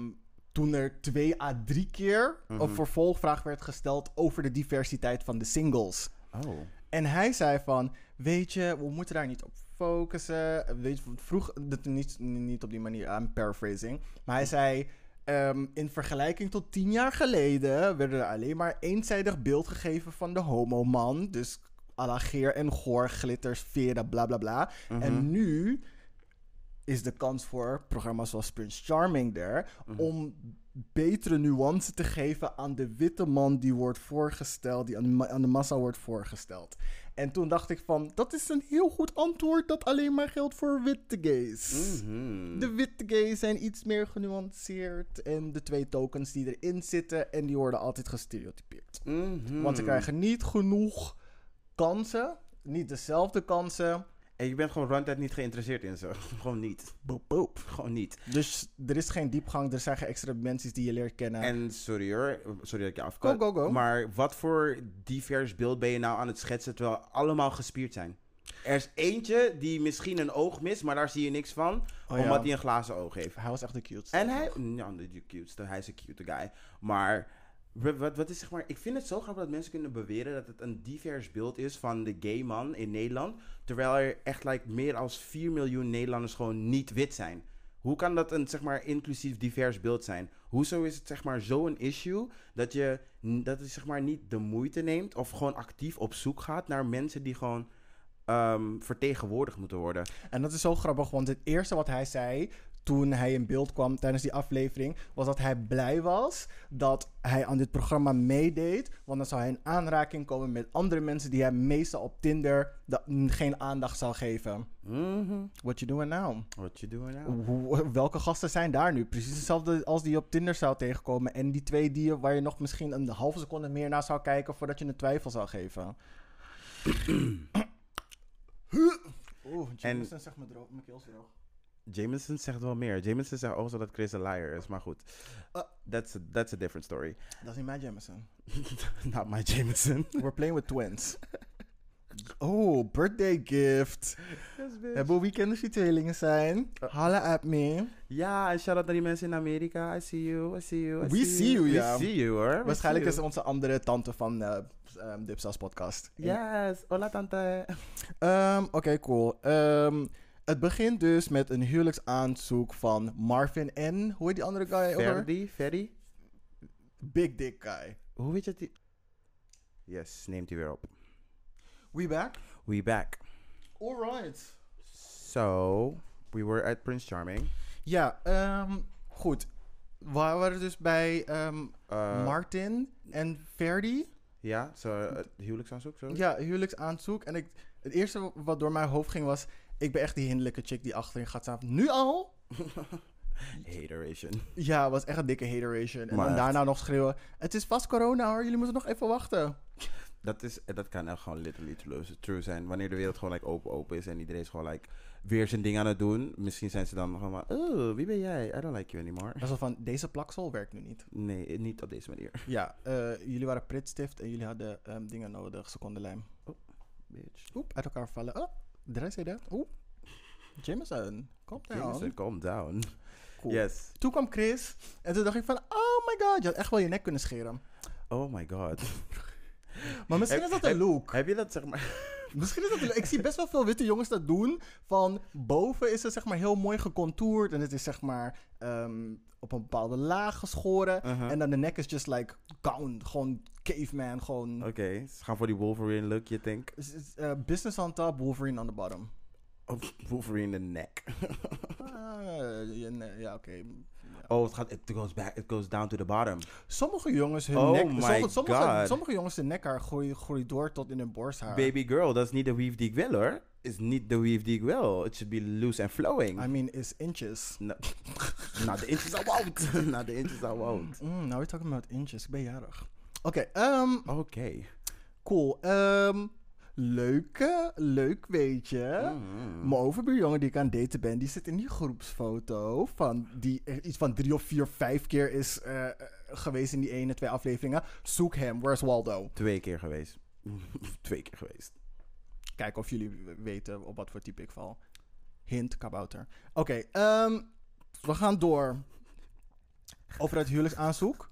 toen er twee à drie keer een Mhm. vervolgvraag werd gesteld over de diversiteit van de singles. Oh. En hij zei van, weet je, we moeten daar niet op focussen. Weet je, vroeg, dat, niet, niet op die manier, I'm paraphrasing. Maar hij zei, ehm, in vergelijking tot tien jaar geleden... werd er alleen maar eenzijdig beeld gegeven van de homoman. Dus à la geer en goor, glitters, veren, bla bla bla. En nu is de kans voor programma's zoals Prince Charming er... om betere nuance te geven aan de witte man die wordt voorgesteld... die aan de, ma- aan de massa wordt voorgesteld. En toen dacht ik van, dat is een heel goed antwoord... dat alleen maar geldt voor witte gays. Mhm. De witte gays zijn iets meer genuanceerd... en de twee tokens die erin zitten... en die worden altijd gestereotypeerd. Mhm. Want ze krijgen niet genoeg kansen... Niet dezelfde kansen. En je bent gewoon ruimtijd niet geïnteresseerd in ze. gewoon niet. Boop, boop. Gewoon niet. Dus er is geen diepgang, er zijn geen extra dimensies die je leert kennen. En sorry hoor, sorry dat ik je afkap. Go, go, go. Maar wat voor divers beeld ben je nou aan het schetsen terwijl allemaal gespierd zijn? Er is eentje die misschien een oog mist, maar daar zie je niks van, Oh ja. omdat hij een glazen oog heeft. Hij was echt de cute. En hij, nou, niet de cuteste, hij is een cute guy. Maar w- wat, wat is zeg maar, ik vind het zo grappig dat mensen kunnen beweren dat het een divers beeld is van de gay man in Nederland. Terwijl er echt like, meer dan 4 miljoen Nederlanders gewoon niet wit zijn. Hoe kan dat een zeg maar, inclusief divers beeld zijn? Hoezo is het zeg maar, zo'n issue dat je, n- dat je zeg maar, niet de moeite neemt of gewoon actief op zoek gaat naar mensen die gewoon ehm, vertegenwoordigd moeten worden? En dat is zo grappig, want het eerste wat hij zei toen hij in beeld kwam tijdens die aflevering, was dat hij blij was dat hij aan dit programma meedeed. Want dan zou hij in aanraking komen met andere mensen die hij meestal op Tinder da- n- geen aandacht zou geven. Mhm. What you doing now? What you doing now? Hoe- Welke gasten zijn daar nu? Precies hetzelfde als die je op Tinder zou tegenkomen. En die twee die je- waar je nog misschien een halve seconde meer naar zou kijken voordat je een twijfel zou geven. Oeh, Jameson en... zegt me droog, mijn keel is droog. Jameson zegt wel meer. Jameson zegt ook zo dat Chris een liar is, maar goed. Eh. that's, a, that's a different story. Dat is niet mijn Jameson. Not my Jameson. We're playing with twins. Oh, birthday gift. Hebben weekenders die tweelingen zijn? Holla at me. Ja, en shout-out naar die mensen in Amerika. I see you, I see you, I We see you, We ja. see you, hoor. We Waarschijnlijk is see onze andere tante van eh ehm, Dipsaus podcast. you. Yes, hola tante. Ehm, Oké, cool. Ehm, het begint dus met een huwelijksaanzoek van Marvin en... Hoe heet die andere guy? ook alweer? Ferdi, Ferdi. Big Dick Guy. Hoe weet je dat die... Yes, neemt hij weer op. We back? We back. Alright. So, we were at Prince Charming. Ja, ehm, goed. We waren dus bij ehm, Uh, Martin en Ferdi. Ja, zo, eh, huwelijksaanzoek, zo? Ja, huwelijksaanzoek. En ik, het eerste wat door mijn hoofd ging was... Ik ben echt die hinderlijke chick die achterin gaat staan. Nu al? Hateration. Ja, het was echt een dikke hateration. En Maar dan echt. daarna nog schreeuwen... Het is vast corona hoor, jullie moeten nog even wachten. Dat, is, eh, dat kan echt gewoon literally true, true zijn. Wanneer de wereld gewoon like, open open is en iedereen is gewoon like, weer zijn ding aan het doen. Misschien zijn ze dan gewoon van, oh, wie ben jij? I don't like you anymore. Dat is wel van, deze plaksel werkt nu niet. Nee, niet op deze manier, Ja, eh, jullie waren pritstift en jullie hadden ehm, dingen nodig. Secondenlijm. bitch. Oep, uit elkaar vallen. Oh, did I say that? Oeh. Jameson, kom down. Jameson, calm down. Cool. Yes. Toen kwam Chris en toen dacht ik van... Oh my god, je had echt wel je nek kunnen scheren. Oh my god. Maar misschien is Heb- dat een look. Heb je dat zeg maar... Misschien is dat wel- Ik zie best wel veel witte jongens dat doen. Van boven is het zeg maar heel mooi gecontourd. En het is zeg maar ehm, op een bepaalde laag geschoren. Uh-huh. En dan de nek is just like down. Gewoon caveman. Gewoon Oh. Oké, ze gaan voor die Wolverine look, je think? s- s- eh, business on top, Wolverine on the bottom. Wolverine in the neck. Ah, ja, nee, ja, oké. oh, het gaat, it goes back, it goes down to the bottom. Sommige jongens hun Oh nek... my sommige, sommige, God. sommige jongens hun nekhaar groeit groei door tot in hun borsthaar. Baby girl, dat is niet de weave die ik wil hoor. Is niet de weave die ik wil. It should be loose and flowing. I mean, is inches. No. Not the inches I won't. Not the inches I won't. Mm, now we're talking about inches. Ik ben jarig. Oké, ehm, Oké. cool. Ehm, leuke, leuk weet je. Mm-hmm. Mijn overbuurjongen die ik aan het daten ben, die zit in die groepsfoto. Van die eh, iets van drie of vier, vijf keer is eh, eh, geweest in die ene, twee afleveringen. Zoek hem, where's Waldo? Twee keer geweest. Twee keer geweest. Kijken of jullie w- weten op wat voor type ik val. Hint, kabouter. Oké, ehm, we gaan door. Over het huwelijksaanzoek.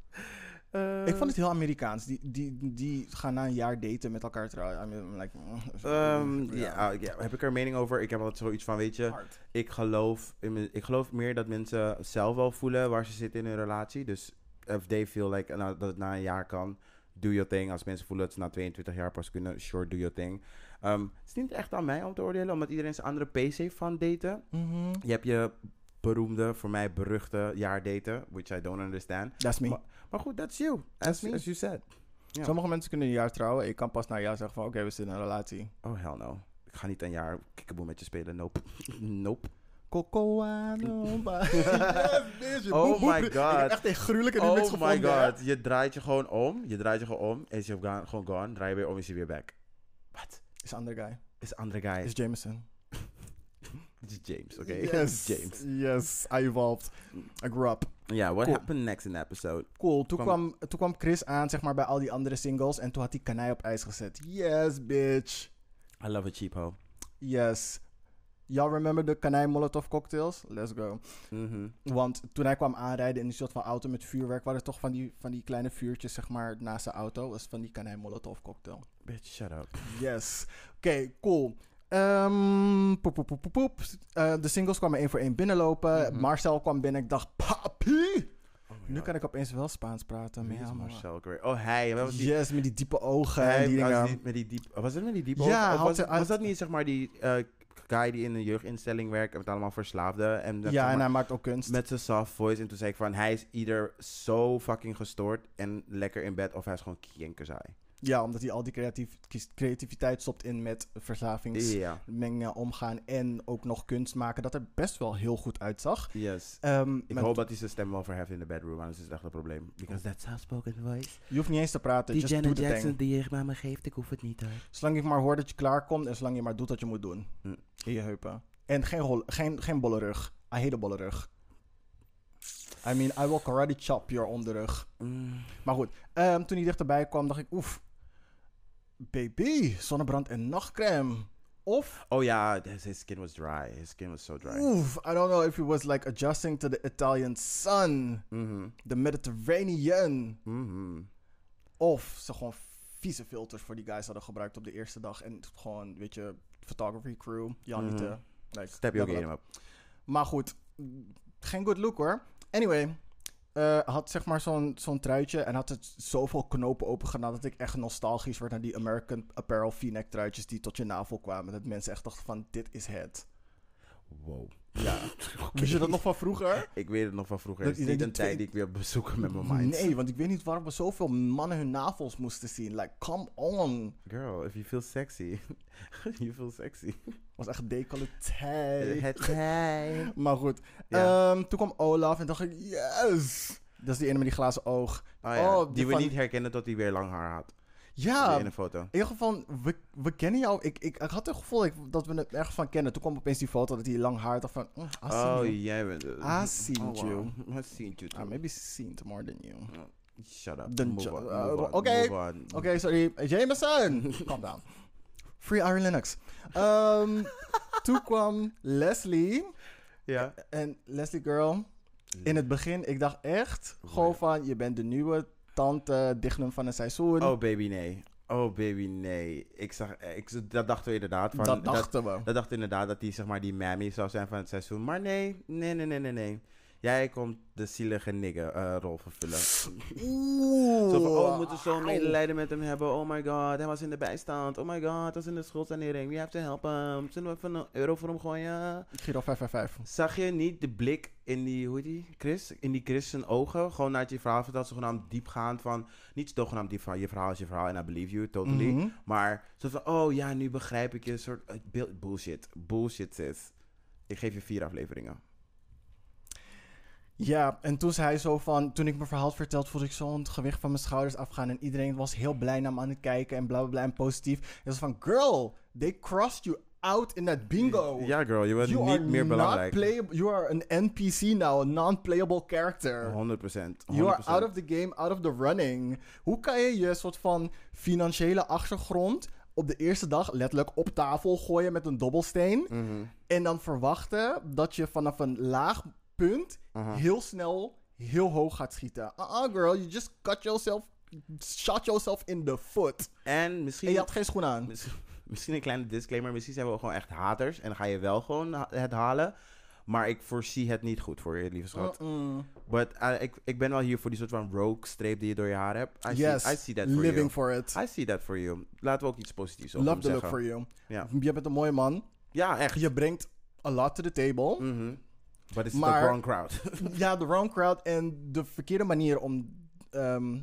Eh. Ik vond het heel Amerikaans. Die, die, die gaan na een jaar daten met elkaar trouwen. I mean, like, mm, Ehm, ja, ja, ah, ja, heb ik er een mening over? Ik heb altijd zoiets van, weet je, hard. ik geloof, in mijn- ik geloof meer dat mensen zelf wel voelen waar ze zitten in hun relatie. Dus if they feel like eh, nou, dat het na een jaar kan, do your thing. Als mensen voelen dat ze na 22 jaar pas kunnen, sure, do your thing. Ehm, het is niet echt aan mij om te oordelen, omdat iedereen zijn andere pace heeft van daten. Mhm. Je hebt je beroemde, voor mij beruchte jaardaten, which I don't understand. That's me. Maar- Maar goed, that's you, as, me. as you said. ja. Sommige mensen kunnen een jaar trouwen. Ik kan pas na een jaar zeggen van, oké, we zitten in een relatie. Oh, hell no. Ik ga niet een jaar kikkeboe met je spelen, nope. nope. Cocoano. Oh my Ik heb God. echt een gruwelijke remix Oh gevonden. my god, je draait je gewoon om. Je draait je gewoon om. Is je gewoon- gewoon gone. Draai je weer om, is je weer back. Wat? Is een andere guy. Is andere guy. Is Jameson. Is James, oké? Yes. James. Yes, I evolved. I grew up. Ja, what Cool. happened next in the episode? Cool, toen Kwam- kwam, toen kwam Chris aan, zeg maar, bij al die andere singles. En toen had hij Kanai op ijs gezet. Yes, bitch. I love a cheapo. Yes. Y'all remember de Kanai Molotov cocktails? Let's go. Mhm. Want toen hij kwam aanrijden in die soort van auto met vuurwerk, waren er toch van die, van die kleine vuurtjes, zeg maar, naast de auto. was van die Kanai Molotov cocktail. Bitch, shut up. Yes. Oké, cool. Ehm, poep, poep, poep, poep, poep. Eh, de singles kwamen één voor één binnenlopen. Mhm. Marcel kwam binnen. Ik dacht, papi! Oh my Nu god. kan ik opeens wel Spaans praten. Wie maar is ja, man. Marcel Gray? Oh, hij. Wat was die? Yes, met die diepe ogen hij en die was dingen. die- met die diep, was het met die diepe Ja, ogen? Of had was, hij- het- was dat niet zeg maar die eh, guy die in een jeugdinstelling werkt en met allemaal verslaafden? En dat, zeg Ja, maar- en hij maakt ook kunst. Met zijn soft voice. En toen zei ik van, hij is ieder zo fucking gestoord en lekker in bed. Of hij is gewoon kinkerzaai. Ja, omdat hij al die creatief, kies- creativiteit stopt in met verslavingsmengingen Ja, omgaan en ook nog kunst maken. Dat er best wel heel goed uitzag. yes. Ehm, Ik met- hoop dat hij zijn stem wel verheft in de bedroom, anders is het echt een probleem. Because that's how spoken voice. je hoeft niet eens te praten. Just do the thing. die je me geeft, ik hoef het niet hoor. Zolang je maar hoort dat je klaar komt en zolang je maar doet wat je moet doen. Hm. In je heupen. En geen, rol, geen, geen bolle rug. I hate a bolle rug. I mean, I will karate chop your onderrug. Oh. Mm. Maar goed, ehm, toen hij dichterbij kwam, dacht ik, oef. Baby, zonnebrand en nachtcrème. Of, Oh ja, his, his skin was dry. His skin was so dry. oef, I don't know if he was like adjusting to the Italian sun, Mhm, the Mediterranean. mhm. Of ze gewoon vieze filters voor die guys hadden gebruikt op de eerste dag. En gewoon, weet je, photography crew, Janite. Mhm. eh, like, Step your level game up. Maar goed, mm, geen good look hoor. Anyway, eh, had zeg maar zo'n zo'n truitje en had het zoveel knopen open gedaan dat ik echt nostalgisch werd naar die American Apparel V-neck truitjes die tot je navel kwamen. Dat mensen echt dachten van, dit is het. Wow. Ja. Oké. Wist je dat nog van vroeger? Ik weet het nog van vroeger. Dat Het is niet iedereen een die tijd die twee- ik weer bezoeken met mijn mind. Nee, want ik weet niet waarom we zoveel mannen hun navels moesten zien. Like, come on. Girl, if you feel sexy, you feel sexy. Was echt decolleté. Het hij. Maar goed, Ja. ehm, toen kwam Olaf en dacht ik, yes! Dat is die ene met die glazen oog. Oh ja, Oh, die, die we van- niet herkennen tot hij weer lang haar had. Ja, Die ene foto. In ieder geval, we, we kennen jou. Ik, ik, ik had het gevoel dat ik- dat we het erg van kennen. Toen kwam opeens die foto dat hij lang haar had. dacht van, mm, I seen Oh, you. jij bent het. I seen Oh, wow. you. I seen you too. I Ah, maybe seen more than you. Oké, Shut up. Then Move ju- on, uh, move on, oké. move on. sorry. Jameson! Calm down. Free Iron Linux. Ehm, toen kwam Leslie. Ja. En Leslie girl, in het begin, ik dacht echt gewoon Right. van, je bent de nieuwe tante Dignum van het seizoen. Oh, baby, nee. Oh, baby, nee. Ik zag, eh, ik, dat dachten we inderdaad. Van, dat dachten we. dat dachten we inderdaad dat hij zeg maar die mammy zou zijn van het seizoen. Maar nee, nee, nee, nee, nee, nee. Jij komt de zielige nigger eh, rol vervullen. Oeh. Zo van, oh, we moeten zo'n medelijden met hem hebben. Oh my god, hij was in de bijstand. Oh my god, hij was in de schuldsanering. We have to help him. Zullen we even een euro voor hem gooien? Giro 555. Zag je niet de blik in die, hoe heet die, Chris? In die Chris zijn ogen? Gewoon nadat je verhaal vertelt, zogenaamd diepgaand van... Niet zogenaamd diep van, je verhaal is je verhaal en I believe you, totally. Mhm. Maar zo van, oh ja, nu begrijp ik je. Een soort eh, beeld- bullshit. Bullshit, sis. Ik geef je vier afleveringen. Ja, en toen zei hij zo van... Toen ik mijn verhaal had verteld, voelde ik zo'n gewicht van mijn schouders afgaan. En iedereen was heel blij naar me aan het kijken en bla bla bla en positief. En zo van, girl, they crossed you out in that bingo. Ja, girl, je bent Oh. you are niet meer not belangrijk. 100%. playable- You are an NPC now, a non-playable Oh. character. 100%. You are out of the game, out of the running. Hoe kan je je soort van financiële achtergrond op de eerste dag letterlijk op tafel gooien met een dobbelsteen Mhm. en dan verwachten dat je vanaf een laag punt Aha. heel snel heel hoog gaat schieten? Uh-uh, girl, you just cut yourself, shot yourself in the foot. En En je misschien had geen schoen aan. Misschien, misschien een kleine disclaimer. Misschien zijn we gewoon echt haters. En dan ga je wel gewoon ha- het halen. Maar ik voorzie het niet goed voor je, lieve schat. Mm-mm. But eh, ik, ik ben wel hier voor die soort van rogue streep die je door je haar hebt. I, yes, see, I see that for living you. for it. I see that for you. Laten we ook iets positiefs over hem Love the look zeggen. for you. Ja. Je bent een mooie man. Ja, echt. Je brengt a lot to the table. Mhm. But it's Maar- the wrong crowd. Ja, de wrong crowd en de verkeerde manier om. ehm,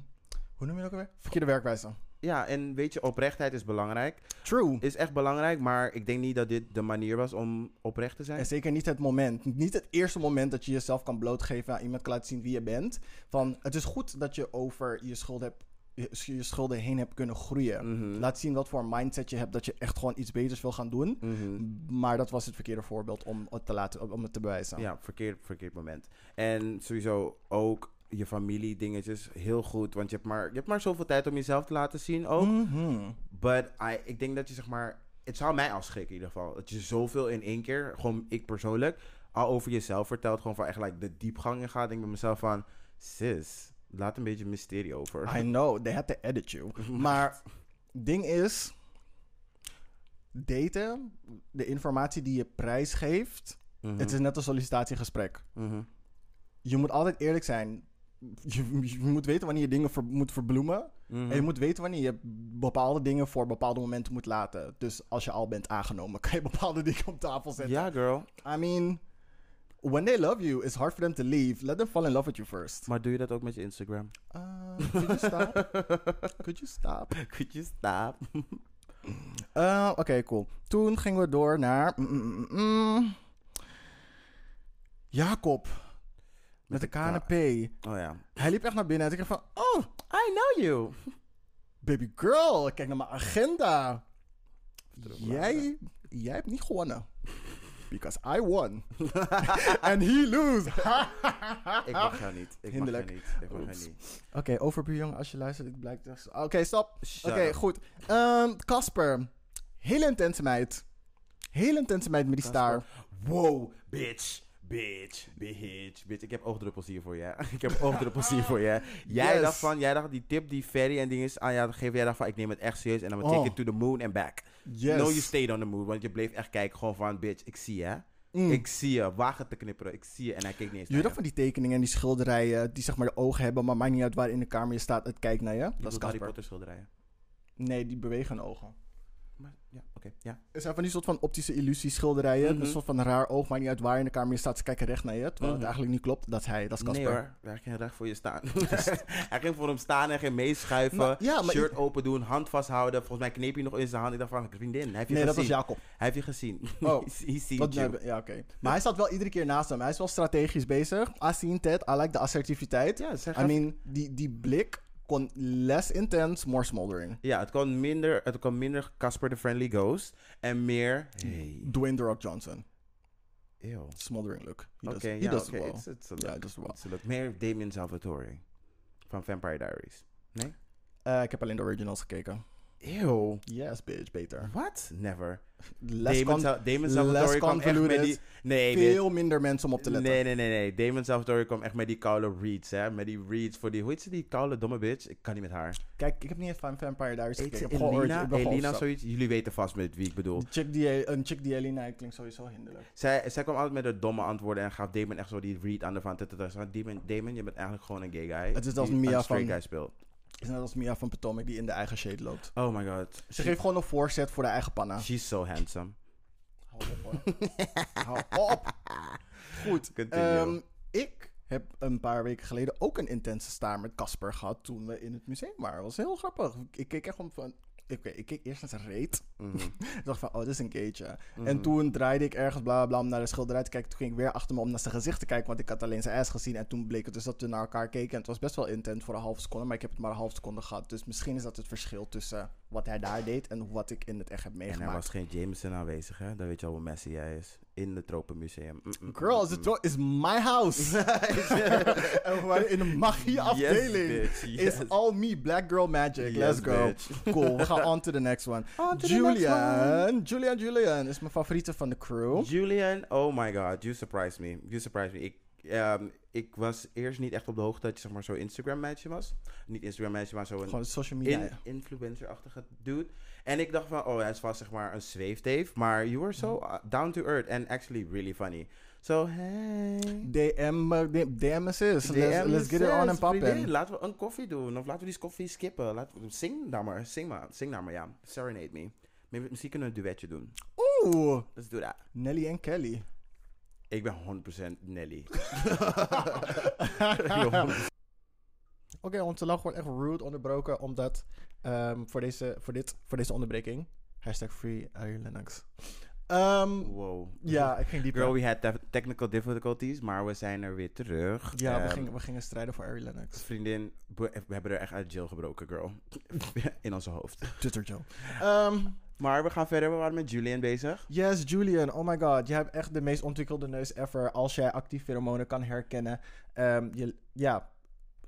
hoe noem je dat ook alweer? Verkeerde werkwijze. ja, en weet je, oprechtheid is belangrijk. True. Is echt belangrijk, maar ik denk niet dat dit de manier was om oprecht te zijn. En zeker niet het moment. Niet het eerste moment dat je jezelf kan blootgeven aan iemand kan laten zien wie je bent. Van het is goed dat je over je schulden, hebt, je, je schulden heen hebt kunnen groeien. Mhm. Laat zien wat voor een mindset je hebt dat je echt gewoon iets beters wil gaan doen. Mhm. Maar dat was het verkeerde voorbeeld om het te, laten, om het te bewijzen. Ja, verkeerd, verkeerd moment. En sowieso ook je familie dingetjes heel goed. Want je hebt maar, je hebt maar zoveel tijd om jezelf te laten zien ook. Mhm. But I, ik denk dat je zeg maar... Het zou mij afschrikken in ieder geval. Dat je zoveel in één keer, gewoon ik persoonlijk... al over jezelf vertelt. Gewoon van echt like, de diepgang in gaat. Ik denk bij mezelf van... Sis, laat een beetje mysterie over. I know, they had to edit you. Maar ding is, daten, de informatie die je prijsgeeft, Mhm, het is net een sollicitatiegesprek. mhm. Je moet altijd eerlijk zijn. Je, je moet weten wanneer je dingen ver- moet verbloemen. Mhm. En je moet weten wanneer je bepaalde dingen voor bepaalde momenten moet laten. Dus als je al bent aangenomen, kan je bepaalde dingen op tafel zetten. Ja, girl. I mean, when they love you, it's hard for them to leave. Let them fall in love with you first. Maar doe je dat ook met je Instagram? Uh, could you stop? could you stop? Could you stop? Eh, Oké, cool. Toen gingen we door naar. mm, mm, mm, mm. Jacob. Met, de een K. KNP. Oh ja. Hij liep echt naar binnen en ik dacht van. Oh, I know you. baby girl. Ik kijk naar mijn agenda. bladen. Jij, jij hebt niet gewonnen. Because I won. And he lose. Ik mag jou niet. Ik Hinderlijk. mag jou niet. Ik mag jou Oeps. niet. Oké, overbuurjongen, als je luistert, ik blijk... Oké, stop. Shut Oké, up. goed. Ehm, Casper. Hele intense meid. Hele intense meid met die staar. Wow, bitch. Bitch, bitch, bitch. Ik heb oogdruppels hier voor je. Ik heb oogdruppels hier voor je. Jij Yes. dacht van, jij dacht die tip die Ferry en ah, dingen aan jou geven. Jij dacht van, ik neem het echt serieus en dan take Oh. it to the moon and back. Yes. No, you stayed on the moon, want je bleef echt kijken gewoon van, bitch, ik zie je. hè. Mm. Ik zie je, wagen te knipperen. Ik zie je en hij keek niet eens Je weet naar toch van die tekeningen en die schilderijen die zeg maar de ogen hebben, maar maakt niet uit waar in de kamer je staat, het kijkt naar je. Je Dat is bedoelt Harry Casper. Potter schilderijen. Nee, die bewegen hun ogen. Maar, ja, oké, ja. Er zijn van die soort van optische illusie schilderijen, Mhm. een soort van raar oog, maakt niet uit waar in de kamer je staat, ze kijken recht naar je, terwijl Mhm. het eigenlijk niet klopt. Dat is hij, dat is Nee Casper. hoor, hij ging recht voor je staan. hij ging voor hem staan en ging meeschuiven. Maar- ja, maar- shirt open doen, hand vasthouden. Volgens mij kneep hij nog in zijn hand. Ik dacht van, vriendin, heb je nee, dat was gezien? Jacob. Hij heeft je gezien. Oh. He's- He's seen Dat- you. ja, oké. Maar hij staat wel iedere keer naast hem. Hij is wel strategisch bezig. I seen Ted, I like de assertiviteit. Ja, zeg I mean, die, die blik kon less intense, more smoldering. ja, het kwam minder, het kwam minder Casper the Friendly Ghost en meer. Hey, Dwayne The Rock Johnson. ew. Smoldering look. He Oké, does, he ja, does oké, well. it's- it's a Ja, look. hij does well. It's a look. Meer Damien Salvatore van Vampire Diaries. Nee? Eh, ik heb alleen de originals gekeken. Eeuw. Yes, bitch, beter. What? Never. Less Damon, con- Sa- Damon less Salvatore kwam echt met convoluted. die... Nee, dit- veel minder mensen om op te letten. Nee, nee, nee, nee. Damon Salvatore kwam echt met die koude reads, hè. Met die reads voor die... Hoe heet ze, die koude domme bitch? Ik kan niet met haar. Kijk, ik heb niet eens van Vampire Diaries Heet gekeken. ze Ik heb gewoon ooit- Elina? ik ben gewoon Elina, overstapt. zoiets? Jullie weten vast met wie ik bedoel. Een chick die, een chick die Elina heet klinkt sowieso hinderlijk. Zij, zij kwam altijd met de domme antwoorden en gaf Damon echt zo die read aan de van. tut, tut, tut. Ze zei, Damon, Damon, je bent eigenlijk gewoon een gay guy. Het is als die Mia een straight van- guy speelt. Is net als Mia van Potomac die in de eigen shade loopt. Oh my god. Ze geeft gewoon een voorzet voor de eigen panna. She's so handsome. Hou op, hoor. Hou op. Goed. Continue. ehm, ik heb een paar weken geleden ook een intense staar met Casper gehad toen we in het museum waren. Dat was heel grappig. Ik keek echt om van... Oké, ik keek eerst naar zijn reet. Mhm. ik dacht van, oh, dit is een keertje. En toen draaide ik ergens bla bla, bla om naar de schilderij te kijken. Toen ging ik weer achter me om naar zijn gezicht te kijken, want ik had alleen zijn ass gezien. En toen bleek het dus dat we naar elkaar keken. En het was best wel intent voor een half seconde, maar ik heb het maar een half seconde gehad. Dus misschien is dat het verschil tussen wat hij daar deed en wat ik in het echt heb En meegemaakt. er was geen Jameson aanwezig, hè? Dan weet je al hoe messy hij is. In het Tropenmuseum. Mm, mm, Girl, mm, is mm. het wel- is my house. en we waren in de magie-afdeling. Yes, bitch, yes. Is all me, black girl magic. Yes, Let's go. bitch. Cool, we gaan on to the next one. On to the Julian. next Julian, Julian is mijn favoriete van de crew. Julian, oh my god, you surprised me. You surprised me. Ik, ehm, ik was eerst niet echt op de hoogte dat je zeg maar zo'n Instagram-meisje was. Niet Instagram-meisje, maar zo'n Gewoon social media. in, influencer-achtige dude. En ik dacht van, oh, hij is vast zeg maar een zweefteef. Maar you were so Mhm. uh, down to earth and actually really funny. So, hey. DM, eh, d- DM is is. Let's, DM let's get it sis, on en vriendin, pappen. Laten we een koffie doen. Of laten we die koffie skippen. Laat, zing daar maar. Zing maar. Zing daar maar, ja. Serenade me. Maybe- Misschien kunnen we een duetje doen. Oeh, Let's do that. Nelly en Kelly. Ik ben 100% Nelly. Oké, onze lach wordt echt rude onderbroken, omdat ehm, voor, deze, voor, dit, voor deze onderbreking, hashtag free Ari Lennox. Ehm, wow. ja, ik ging dieper. Girl, we had te- technical difficulties, maar we zijn er weer terug. ja, we, Ehm, gingen, we gingen strijden voor Ari Lennox. Vriendin, we, we hebben er echt uit jail gebroken, girl. In onze hoofd. Twitter Joe. Ehm, Maar we gaan verder. We waren met Julian bezig. yes, Julian. Oh my god. Je hebt echt de meest ontwikkelde neus ever. Als jij actief pheromonen kan herkennen. Ehm, je, ja.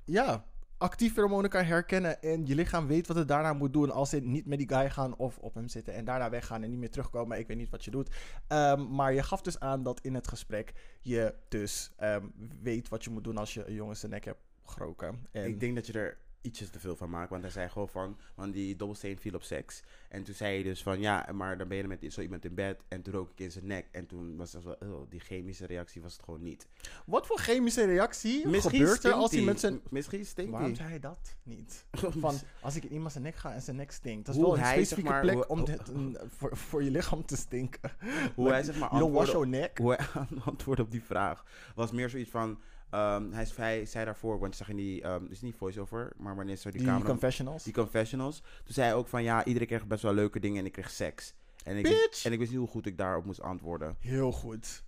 Ja. Actief pheromonen kan herkennen. En je lichaam weet wat het daarna moet doen. Als ze niet met die guy gaan of op hem zitten. En daarna weggaan en niet meer terugkomen. Ik weet niet wat je doet. Ehm, maar je gaf dus aan dat in het gesprek je dus ehm, weet wat je moet doen als je een jongen zijn nek hebt geroken. En Ik denk dat je er ietsjes te veel van maakt, want hij zei gewoon van, want die dobbelsteen viel op seks. En toen zei hij dus van, ja, maar dan ben je met zo iemand in bed. En toen rook ik in zijn nek. En toen was het wel, oh, die chemische reactie was het gewoon niet. Wat voor chemische reactie gebeurt er stinkt als hij hij. met zijn Misschien stinkt Waarom hij. zei hij dat niet? Van, als ik in iemand zijn nek ga en zijn nek stinkt. Dat is Hoe wel een hij, zeg specifieke maar, plek hoe- om hoe- dit, mm, voor, voor je lichaam te stinken. Hoe hij zeg maar You don't wash antwoordde your neck. hoe hij aan- antwoord op die vraag was meer zoiets van. ehm, hij, is- hij zei daarvoor, want je zag in die. ehm, het is niet voice-over, maar wanneer zo die, Die camera. confessionals. die confessionals. Toen zei hij ook van ja, iedereen kreeg best wel leuke dingen en ik kreeg seks. En ik, wist- Bitch! en ik wist niet hoe goed ik daarop moest antwoorden. Heel goed.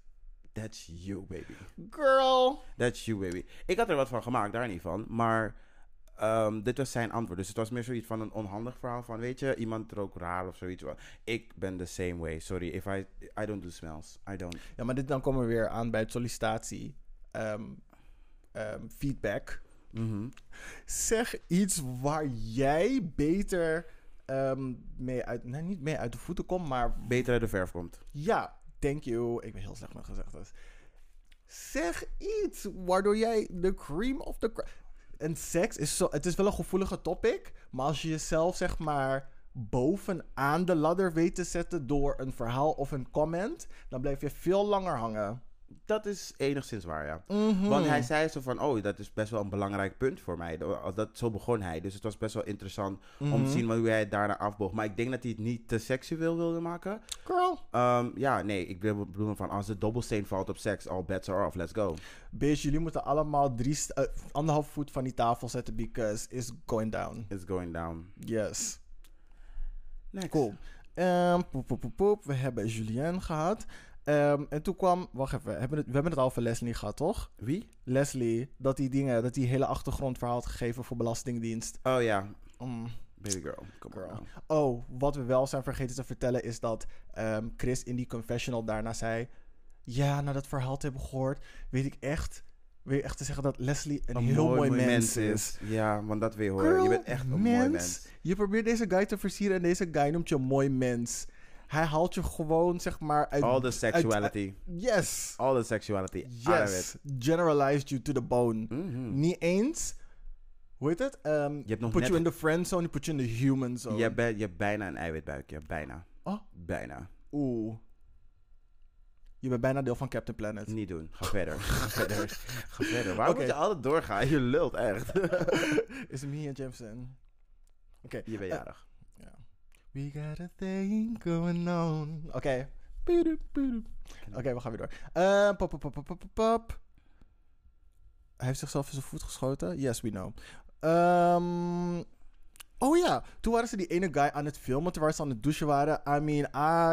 That's you, baby. Girl. That's you, baby. Ik had er wat van gemaakt, daar niet van. Maar ehm, dit was zijn antwoord. Dus het was meer zoiets van een onhandig verhaal. Van weet je, iemand rook raar of zoiets. Ik ben the same way. Sorry, if I, I don't do smells. I don't. Ja, maar dit dan komen we weer aan bij het sollicitatie. ehm, ehm, feedback. Mhm. Zeg iets waar jij beter ehm, mee uit... Nee, niet mee uit de voeten komt, maar Beter uit de verf komt. Ja, thank you. Ik ben heel slecht met gezegdes. Zeg iets waardoor jij de cream of the cra- En seks is zo... Het is wel een gevoelige topic. Maar als je jezelf, zeg maar, bovenaan de ladder weet te zetten... door een verhaal of een comment... dan blijf je veel langer hangen. Dat is enigszins waar, ja. Mhm. Want hij zei zo van, oh, dat is best wel een belangrijk punt voor mij. Dat, dat- zo begon hij. Dus het was best wel interessant om Mhm. te zien hoe hij het daarna afboog. Maar ik denk dat hij het niet te seksueel wilde maken. Girl. Ehm, ja, nee, ik bedoel bedoel van, als de dobbelsteen valt op seks, all bets are off, let's go. Bitch, jullie moeten allemaal drie st- eh, anderhalf voet van die tafel zetten... because it's going down. It's going down. Yes. Next. Cool. Ehm, poep, poep, poep, poep. We hebben Julien gehad. Ehm, en toen kwam... Wacht even. Hebben we het- we hebben het al over Leslie gehad, toch? Wie? Leslie, dat die dingen... Dat die hele achtergrondverhaal had gegeven voor Belastingdienst. Oh ja, Mm, baby girl. Come on girl. now. Oh, wat we wel zijn vergeten te vertellen... is dat ehm, Chris in die confessional daarna zei... Ja, na dat verhaal te hebben gehoord... weet ik echt... weer echt te zeggen dat Leslie een, heel mooi, mens is. Ja, want dat weer hoor. je Girl, bent echt een mooi mens. Je probeert deze guy te versieren en deze guy noemt je een mooi mens. Hij haalt je gewoon, zeg maar, uit... All the sexuality. yes! All the sexuality. Out of it. Yes! Generalized you to the bone. Mhm. Niet eens... Hoe heet het? Ehm, hebt nog put net- you in the friend zone, put you in the human zone. Je, hebt bij- je hebt bijna een eiwitbuikje. Bijna. Oh. Bijna. Oeh. Je bent bijna deel van Captain Planet. Niet doen. Ga verder. Ga verder. Ga verder. Waar Oké. moet je altijd doorgaan? Je lult echt. Is het Mia Jemison? Oké. je bent eh, jarig. We got a thing going on. Oké. Pidoep, pidoep. Oké, we gaan weer door. Eh, pop, pop, pop, pop, pop, pop. Hij heeft zichzelf in zijn voet geschoten. Yes, we know. Ehm, oh ja, toen waren ze die ene guy aan het filmen terwijl ze aan het douchen waren. I mean,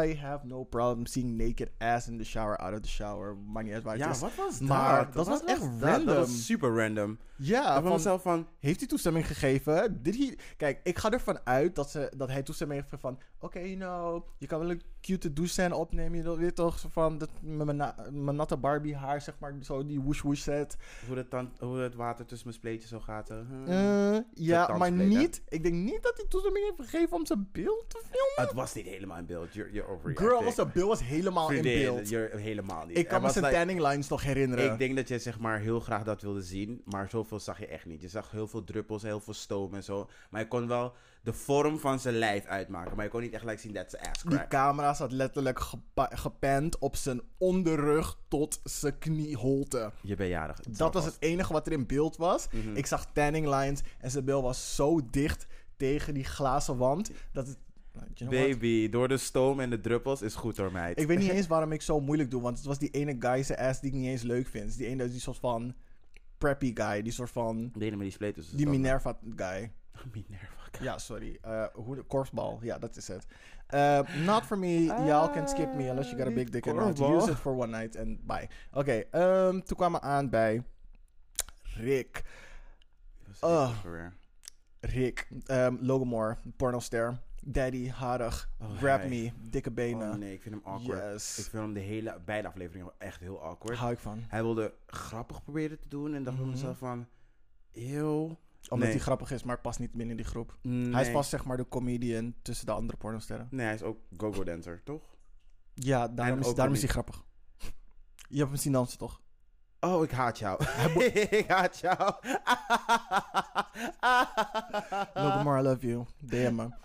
I have no problem seeing naked ass in the shower, out of the shower. Maakt niet uit waar het is. wat was Maar dat was echt Dat, dat random. was super random. Ja, ik was van, mezelf van... heeft hij toestemming gegeven? Did he... Kijk, ik ga ervan uit dat, ze, dat hij toestemming heeft gegeven van... Oké, you know, je kan wel een cute douche opnemen. Je wil- weet toch, zo van dat, met mijn, na- mijn natte Barbie haar, zeg maar, zo die woosh woosh set. Hoe het, dan, hoe het water tussen mijn spleetjes zo gaat. eh. Eh, ja, Zo'n maar dansplay, hè? niet... Ik denk niet dat hij toestemming heeft gegeven om zijn beeld te filmen. het was niet helemaal in beeld. You're, you're overreacting. Girl, was zijn beeld was helemaal in Vriendin, beeld. You're, helemaal niet. Ik Er kan me was zijn like- tanning lines nog herinneren. Ik denk dat je zeg maar heel graag dat wilde zien, maar zoveel zag je echt niet. Je zag heel veel druppels, heel veel stoom en zo. Maar je kon wel de vorm van zijn lijf uitmaken, maar je kon niet echt gelijk zien dat ze ass Die crack. camera zat letterlijk gepa- gepand op zijn onderrug tot zijn knieholte. Je bent jarig. Het zal Dat was vast. het enige wat er in beeld was. Ik zag tanning lines en zijn bil was zo dicht tegen die glazen wand dat het. Nou, you know what? Baby, door de stoom en de druppels is goed hoor, meid. Ik weet niet eens waarom ik zo moeilijk doe, want het was die ene guy's ass die ik niet eens leuk vind. Die ene die soort van preppy guy, die soort van De ene met die spleet tussen die de stoom. Minerva guy. Minerva. Ja, sorry. Eh, hoe de korfbal. Ja, dat is het. Eh, not for me. Y'all can skip me unless you got a big dick and want to korfbal. use it for one night and bye. Oké, ehm, toen kwamen we aan bij Rick. Dat was Oh. echt weer. Rick, ehm Logan Moore, pornoster, daddy, harig, Oh, grab hij. me, dikke benen. Oh nee, ik vind hem awkward. Yes. Ik vind hem de hele, beide afleveringen echt heel awkward. Hou ik van. Hij wilde grappig proberen te doen en dacht bij Mhm. mezelf van... Eeuw. Omdat Nee. hij grappig is, maar past niet binnen die groep. Hij is vast zeg maar de comedian tussen de andere pornosterren. Nee, hij is ook go-go dancer, toch? Ja, daarom, En is, ook daarom is hij grappig. Je hebt hem zien dansen toch? Oh, ik haat jou. ik haat jou. Logan Moore, I love you. DM me.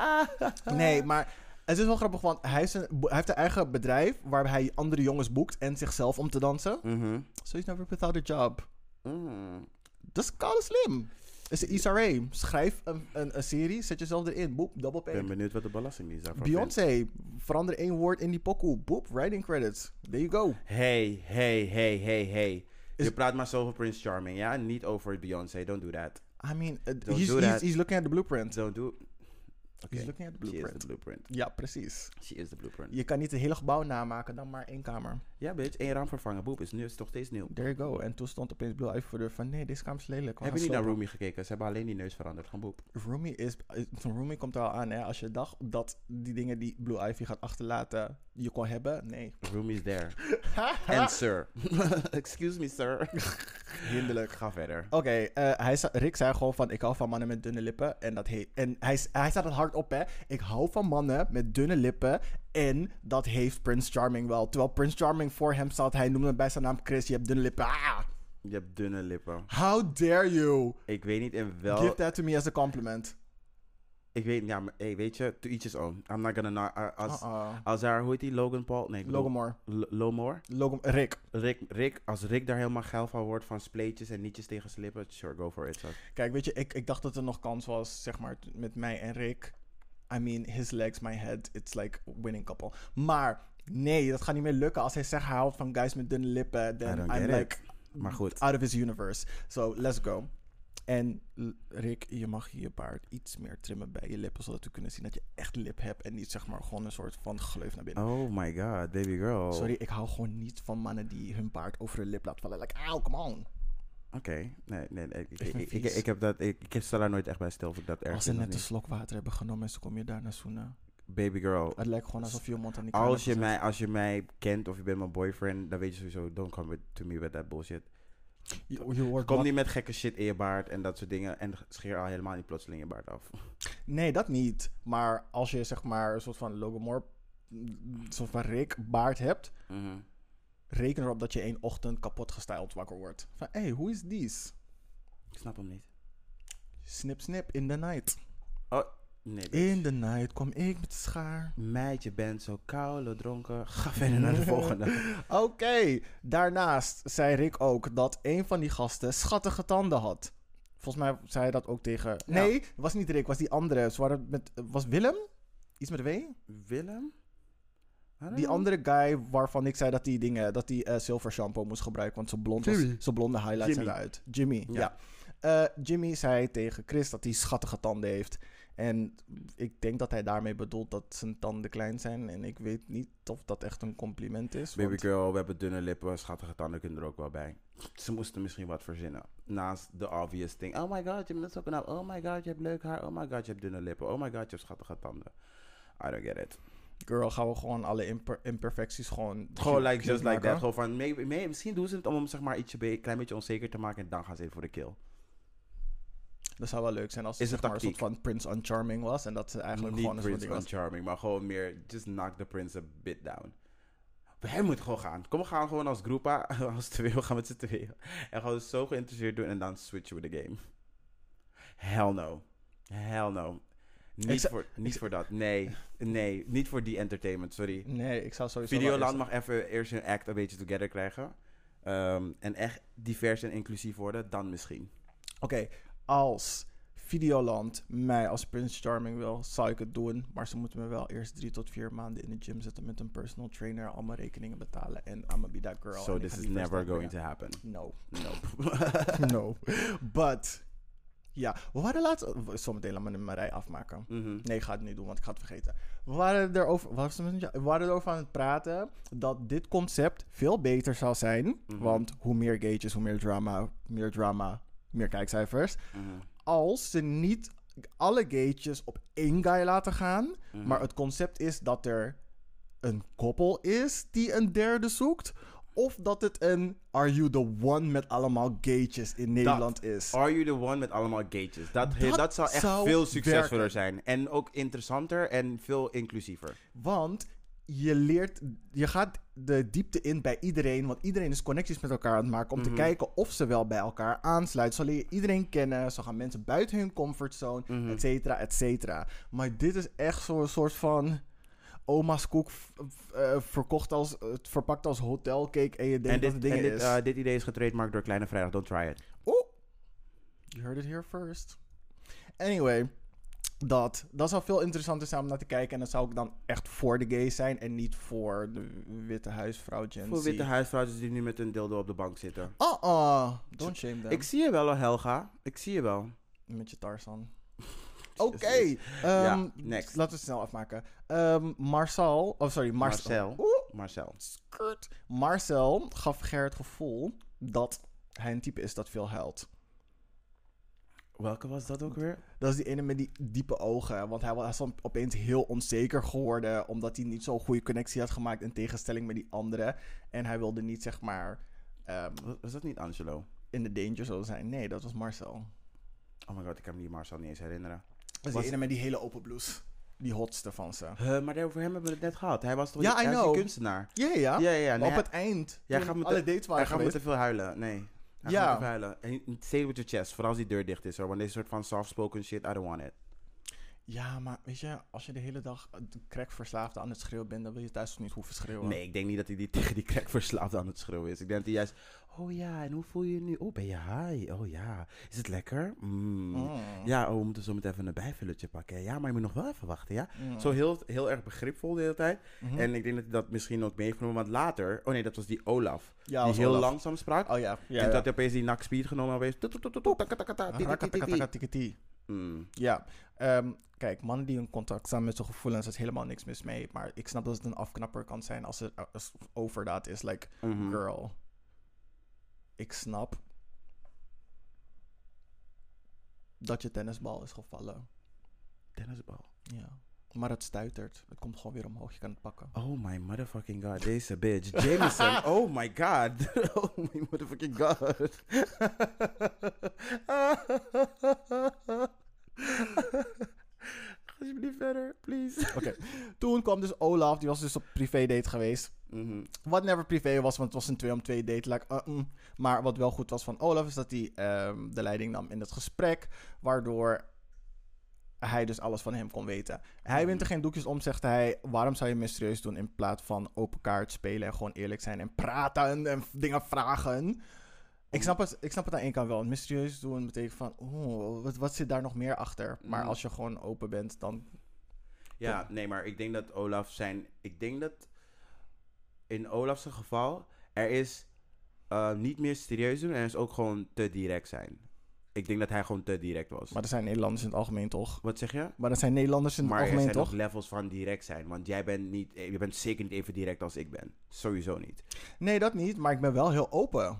Nee, maar het is wel grappig, want hij, is een, bo- hij heeft een eigen bedrijf waarbij hij andere jongens boekt en zichzelf om te dansen. Mhm. So he's never without a job. Mm. Dat is koude slim. Het is een E ISRA. Schrijf een, een, een serie, zet jezelf erin. Boep, double Ik pay. ben benieuwd wat de belastingdienst daarvan vindt. Beyoncé, verander één woord in die pokoe. Boep, writing credits. There you go. Hey, hey, hey, hey, hey. Is- Je praat maar zo over Prince Charming, ja? Niet over Beyoncé. Don't do that. I mean, uh, Don't he's, do he's, that. he's looking at the blueprint. Don't do... Oké. He's looking at the She is blueprint. the blueprint. Ja, precies. She is the blueprint. Je kan niet het hele gebouw namaken, dan maar één kamer. Ja, bitch. één raam vervangen. Boep, is, nu, is toch steeds nieuw. There you go. En toen stond opeens Blue Ivy voor de deur van, nee, deze kamer is lelijk. Heb je we gaan niet naar slopen. Roomy gekeken? Ze hebben alleen die neus veranderd. Gewoon boep. Roomie is, eh, Roomie komt er al aan, hè. Als je dacht dat die dingen die Blue Ivy gaat achterlaten, je kon hebben, nee. Roomy's there. And sir. Excuse me, sir. Hinderlijk. Ga verder. Oké, eh, hij zei- Rick zei gewoon van ik hou van mannen met dunne lippen. En, dat he- en hij, s- hij staat het hard op, hè. Ik hou van mannen met dunne lippen. En dat heeft Prince Charming wel. Terwijl Prince Charming voor hem zat, hij noemde hem bij zijn naam Chris. Je hebt dunne lippen. Ah, Je hebt dunne lippen. how dare you? Ik weet niet in wel. Give that to me as a compliment. Ik weet, ja, maar hey, weet je, to each his own. I'm not gonna. na- eh, als, Uh-uh. als daar, hoe heet die? Logan Paul? Nee, Logan Moore. Lomor. Logan, Rick. Rick, Rick, als Rick daar helemaal geil van wordt van spleetjes en nietjes tegen zijn lippen, sure, go for it. sus. Kijk, weet je, ik, ik dacht dat er nog kans was, zeg maar, t- met mij en Rick. I mean, his legs, my head, it's like winning couple. Maar nee, dat gaat niet meer lukken. Als hij zegt hij houdt van guys met dunne lippen, I then don't I'm get like it. Maar goed. out of his universe. So, let's go. En L- Rick, je mag je baard iets meer trimmen bij je lippen, zodat we kunnen zien dat je echt lip hebt en niet zeg maar gewoon een soort van gleuf naar binnen. Oh my god, baby girl. Sorry, ik hou gewoon niet van mannen die hun baard over hun lip laten vallen. Like, ow, come on. Oké, nee, nee, nee, ik, vind ik, ik, vies. ik heb dat, ik, ik sta daar nooit echt bij stil of ik dat erg Als ze vind of net een niet. slok water hebben genomen en ze kom je daarna zoenen. Baby girl, Het lijkt gewoon alsof je mond aan die kraan als hebt je, gezet. mij, als je mij kent of je bent mijn boyfriend, dan weet je sowieso, don't come with, to me with that bullshit. Je, je hoort Kom wat- niet met gekke shit in je baard en dat soort dingen. En scheer al helemaal niet plotseling je baard af. Nee, dat niet. Maar als je zeg maar een soort van logomorp, een soort van Rick baard hebt, Mhm. reken erop dat je één ochtend kapot gestyled wakker wordt. Van, hé, hey, hoe is dies? Ik snap hem niet. Snip, snip, in the night. Oh, nee. bitch. In the night kom ik met de schaar. Meid, je bent zo koude dronken. Ga verder naar de volgende. Oké, daarnaast zei Rick ook dat een van die gasten schattige tanden had. Volgens mij zei hij dat ook tegen... Nee, het was niet Rick, het was die andere. Ze waren met, was Willem? Iets met W? Willem? Hallo? Die andere guy waarvan ik zei dat die dingen, dat die eh silver shampoo moest gebruiken, want zijn blond was, Jimmy. zijn blonde highlights zijn Jimmy. eruit. Jimmy, ja. Ja. Eh, Jimmy zei tegen Chris dat hij schattige tanden heeft. En ik denk dat hij daarmee bedoelt dat zijn tanden klein zijn. En ik weet niet of dat echt een compliment is. Baby want- girl, we hebben dunne lippen, schattige tanden kunnen er ook wel bij. Ze moesten misschien wat verzinnen. Naast de obvious thing. Oh my god, je bent zo knap. Oh my god, je hebt leuk haar. Oh my god, je hebt dunne lippen. Oh my god, je hebt schattige tanden. I don't get it. Girl, gaan we gewoon alle imper- imperfecties gewoon... Gewoon like, cute just like maken? that. Gewoon van, maybe, may- misschien doen ze het om hem zeg maar ietsje be- klein beetje onzeker te maken. En dan gaan ze even voor de kill. Dat zou wel leuk zijn als het Is een zeg maar, een soort tactiek. van Prince Uncharming was. En dat ze eigenlijk Niet gewoon een soort Prince ding was. Uncharming, maar gewoon meer, just knock the prince a bit down. Hij moet gewoon gaan. Kom, we gaan gewoon als groepa, als twee, we gaan met z'n tweeën. En gewoon zo geïnteresseerd doen en dan switchen we de game. Hell no. Hell no. Niet, zou- voor, niet voor dat. Nee, nee. Niet voor die entertainment, sorry. Nee, ik zou sowieso... wel Videoland eerst- mag even eerst hun act een beetje together krijgen. Ehm, en echt divers en inclusief worden, dan misschien. Oké, als Videoland mij als Prince Charming wil, zou ik het doen. Maar ze moeten me wel eerst drie tot vier maanden in de gym zetten met een personal trainer, al mijn rekeningen betalen en I'm a be that girl. so en ik this ga is die never verstand going to brengen. happen. No, Nope. no. But, ja, we waren laatst... Zometeen laat me mijn rij afmaken. Mhm. Nee, ik ga het niet doen, want ik ga het vergeten. We waren erover, wat was het met jou? we waren erover aan het praten dat dit concept veel beter zou zijn. Mhm. Want hoe meer gauges, hoe meer drama, meer drama, meer kijkcijfers. Mhm. Als ze niet alle gauges op één guy laten gaan. Mhm. Maar het concept is dat er een koppel is die een derde zoekt. Of dat het een Are You The One met allemaal gauges in Nederland is. Are You The One met allemaal gatejes. Dat, Dat dat, zou echt zou veel succesvoller werken. zijn. En ook interessanter en veel inclusiever. Want je leert, je gaat de diepte in bij iedereen. Want iedereen is connecties met elkaar aan het maken. Om Mhm. te kijken of ze wel bij elkaar aansluiten. Zo leer je iedereen kennen. Zo gaan mensen buiten hun comfortzone. Mhm. Et cetera, et cetera. Maar dit is echt zo'n soort van. Oma's koek v- v- eh, verkocht als, eh, verpakt als hotelcake. En je denkt En, dat dit, het en ding dit, is. eh, dit idee is getrademarkt door Kleine Vrijdag. Don't try it. Oeh. You heard it here first. Anyway, dat, dat zou veel interessanter zijn om naar te kijken. En dan zou ik dan echt voor de gays zijn en niet voor de witte huisvrouw Gen Voor Z. witte huisvrouwtjes die nu met een dildo op de bank zitten. Oh, oh. Don't shame them. Ik zie je wel, hoor, Helga. Ik zie je wel. Met je Tarzan. Oké. Jezus. Ja, ehm, next. Laten we het snel afmaken. Ehm, Marcel, oh sorry, Marcel. Marcel. Oeh, Marcel. skirt. Marcel gaf Ger het gevoel dat hij een type is dat veel huilt. Welke was dat ook weer? Dat is die ene met die diepe ogen. Want hij was dan opeens heel onzeker geworden. Omdat hij niet zo'n goede connectie had gemaakt. In tegenstelling met die andere. En hij wilde niet, zeg maar, ehm, Was, was dat niet Angelo? in de danger zo zijn. Nee, dat was Marcel. Oh my god, ik kan me die Marcel niet eens herinneren. Dat is Was- die ene met die hele open blouse. Die hotste van ze. Huh, maar over hem hebben we het net gehad. Hij was toch Ja, die, I hij was die know. kunstenaar? Ja, ja. Ja, ja, ja. Maar Nee, op het eind. Jij toen gaat met alle de- dates waren Hij gaat niet geweest. te veel huilen, nee. Hij Ja. gaat niet te veel huilen. En stay with your chest, vooral als die deur dicht is hoor. Want deze soort van soft-spoken shit, I don't want it. Ja, maar weet je, als je de hele dag eh, crack verslaafd aan het schreeuwen bent, dan wil je thuis toch niet hoeven schreeuwen. Nee, ik denk niet dat hij die, tegen die crack verslaafd aan het schreeuwen is. Ik denk dat hij juist, oh ja, en hoe voel je je nu? Oh, ben je high? Oh ja, is het lekker? Mm. Mm. Ja, oh, we moeten zo meteen even een bijvulletje pakken. Ja, maar je moet nog wel even wachten, ja? Mm. Zo heel, heel erg begripvol de hele tijd. Mhm. En ik denk dat hij dat misschien ook meegenomen, want later... Oh nee, dat was die Olaf. Ja, die was heel Olaf. langzaam sprak. Oh ja. ja, en ja. dat hij opeens die nak speed genomen had. opeens, toet, toet, toet, toet, takatakata, ti, ti, ti, ti, ti. Takatakatakatakati. Mm. Ja, ehm, kijk, mannen die in contact staan met hun gevoelens, er is helemaal niks mis mee. Maar ik snap dat het een afknapper kan zijn als het eh, als overdaad is. Like, Mhm. girl, ik snap dat je tennisbal is gevallen. Tennisbal. Ja. Maar het stuitert. Het komt gewoon weer omhoog. Je kan het pakken. Oh my motherfucking god, deze bitch. Jameson, oh my god. Oh my motherfucking god. Ga alsjeblieft verder, please. Oké. Toen kwam dus Olaf. Die was dus op privé-date geweest. Mhm. Wat never privé was, want het was een 2 om 2 date. Like, uh, mm. Maar wat wel goed was van Olaf is dat hij ehm, de leiding nam in het gesprek. Waardoor hij dus alles van hem kon weten. Hij wint er Mhm. geen doekjes om, zegt hij. Waarom zou je mysterieus doen in plaats van open kaart spelen en gewoon eerlijk zijn en praten en v- dingen vragen? Oh. Ik snap, het, ik snap het aan één kant wel. Want mysterieus doen betekent van, oh, wat, wat zit daar nog meer achter? Maar Mhm. als je gewoon open bent, dan... Ja, nee, maar ik denk dat Olaf zijn. Ik denk dat in Olaf's geval er is eh, niet meer serieus doen en er is ook gewoon te direct zijn. Ik denk dat hij gewoon te direct was. Maar er zijn Nederlanders in het algemeen toch? Wat zeg je? Maar dat zijn Nederlanders in het Maar er algemeen zijn toch? nog levels van direct zijn, want jij bent niet, eh, je bent zeker niet even direct als ik ben. Sowieso niet. Nee, dat niet, maar ik ben wel heel open.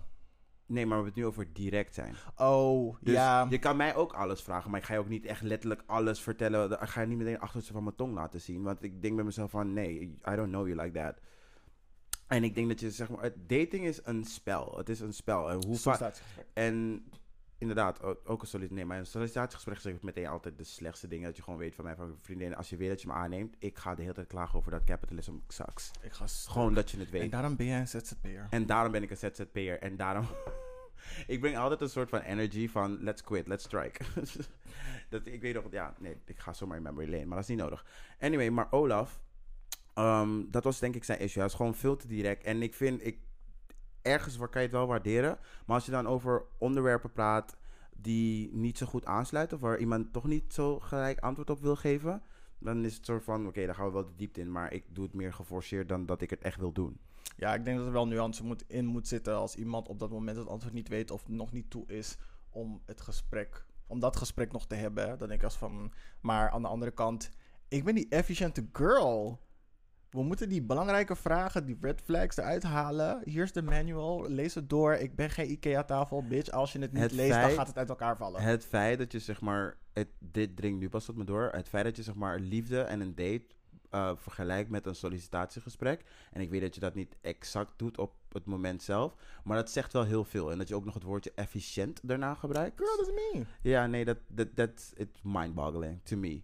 Nee, maar we hebben het nu over direct zijn. Oh, Dus ja. je kan mij ook alles vragen, maar ik ga je ook niet echt letterlijk alles vertellen. Ik ga je niet meteen achter van mijn tong laten zien. Want ik denk bij mezelf van, nee, I don't know you like that. En ik denk dat je, zeg maar, het- dating is een spel. Het is een spel. En, hoe Soms va- staat het gesprek. en inderdaad, o- ook een sollicitatie. Nee, maar een sollicitatiegesprek is ook meteen altijd de slechtste dingen dat je gewoon weet van mijn vriendin. Als je weet dat je me aanneemt, ik ga de hele tijd klagen over dat capitalism sucks. Ik ga s- Gewoon dat je het En weet. daarom ben jij een ZZP'er. En daarom ben ik een ZZP'er. En daarom... ik breng altijd een soort van energy van... Let's quit, let's strike. dat, ik weet nog... Ja, nee, ik ga zomaar in memory lane. Maar dat is niet nodig. Anyway, maar Olaf... ehm, dat was denk ik zijn issue. Hij is gewoon veel te direct. En ik vind... Ik, ergens waar kan je het wel waarderen. Maar als je dan over onderwerpen praat... die niet zo goed aansluiten... of waar iemand toch niet zo gelijk antwoord op wil geven... dan is het soort van... oké, daar gaan we wel de diepte in... maar ik doe het meer geforceerd... dan dat ik het echt wil doen. Ja, ik denk dat er wel nuance moet, in moet zitten als iemand op dat moment het antwoord niet weet of nog niet toe is om het gesprek, om dat gesprek nog te hebben. Dan denk ik als van, maar aan de andere kant, ik ben die efficiënte girl. We moeten die belangrijke vragen, die red flags eruit halen. Hier is de manual, lees het door. Ik ben geen IKEA-tafel, bitch. Als je het niet Het leest, dan feit- gaat het uit elkaar vallen. Het feit dat je zeg maar, het, dit dringt nu pas tot me door. Het feit dat je zeg maar liefde en een date eh, vergelijkt met een sollicitatiegesprek. En ik weet dat je dat niet exact doet op het moment zelf. Maar dat zegt wel heel veel. En dat je ook nog het woordje efficiënt daarna gebruikt. Girl, dat is me. Ja, nee, dat dat dat it's mind-boggling to me.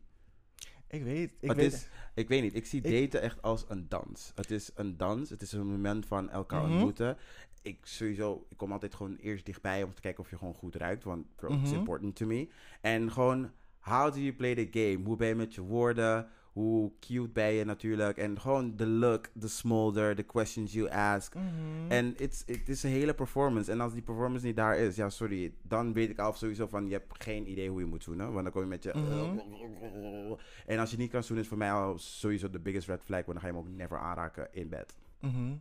Ik weet, ik Het weet. is- Ik weet niet, ik zie Ik- daten echt als een dans. Het is een dans, het is een moment van elkaar Mhm. ontmoeten. Ik sowieso, ik kom altijd gewoon eerst dichtbij om te kijken of je gewoon goed ruikt, want bro, it's Mhm. important to me. En gewoon, how do you play the game? Hoe ben je met je woorden? Hoe cute ben je natuurlijk? En gewoon de look, de smolder, the questions you ask. Mhm. En it's- het is een hele performance. En als die performance niet daar is, ja, sorry. Dan weet ik al sowieso van, je hebt geen idee hoe je moet zoenen. Want dan kom je met je... eh, en als je niet kan zoenen, is voor mij al sowieso de biggest red flag. Want dan ga je hem ook never aanraken in bed. Mhm.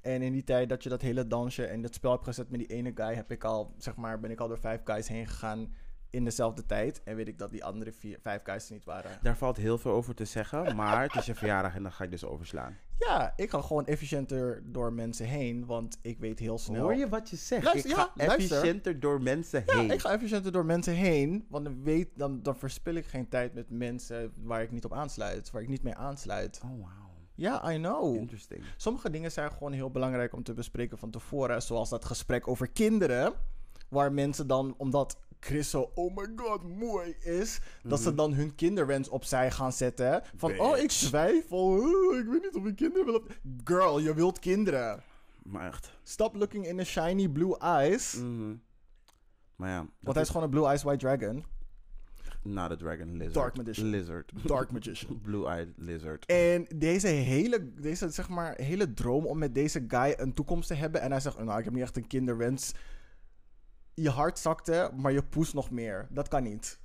En in die tijd dat je dat hele dansje en dat spel hebt gezet met die ene guy, heb ik al, zeg maar, ben ik al door vijf guys heen gegaan in dezelfde tijd. En weet ik dat die andere vier, vijf guys er niet waren. Daar valt heel veel over te zeggen. Maar het is je verjaardag en dan ga ik dus overslaan. Ja, ik ga gewoon efficiënter door mensen heen, want ik weet heel snel. Hoor je wat je zegt? Luister, ik ga ja, luister. efficiënter door mensen Ja, heen. ik ga efficiënter door mensen heen, want dan, weet, dan, dan verspil ik geen tijd met mensen waar ik niet op aansluit, waar ik niet mee aansluit. Oh, wow. Ja, I know. Interesting. Sommige dingen zijn gewoon heel belangrijk om te bespreken van tevoren. Zoals dat gesprek over kinderen. Waar mensen dan, omdat Chris zo, oh my god, mooi is. Dat ze dan hun kinderwens opzij gaan zetten. Van, oh, ik twijfel. oh, ik weet niet of ik kinderen wil. op-" Girl, je wilt kinderen. Maar echt. Stop looking in the shiny blue eyes. Mhm. Maar ja. Want hij is gewoon een blue eyes white dragon. Not a dragon, lizard. Dark magician. Lizard. Dark magician. Blue-eyed lizard. En deze hele, deze, zeg maar, hele droom om met deze guy een toekomst te hebben. En hij zegt, nou, ik heb niet echt een kinderwens. Je hart zakte, maar je poes nog meer. Dat kan niet.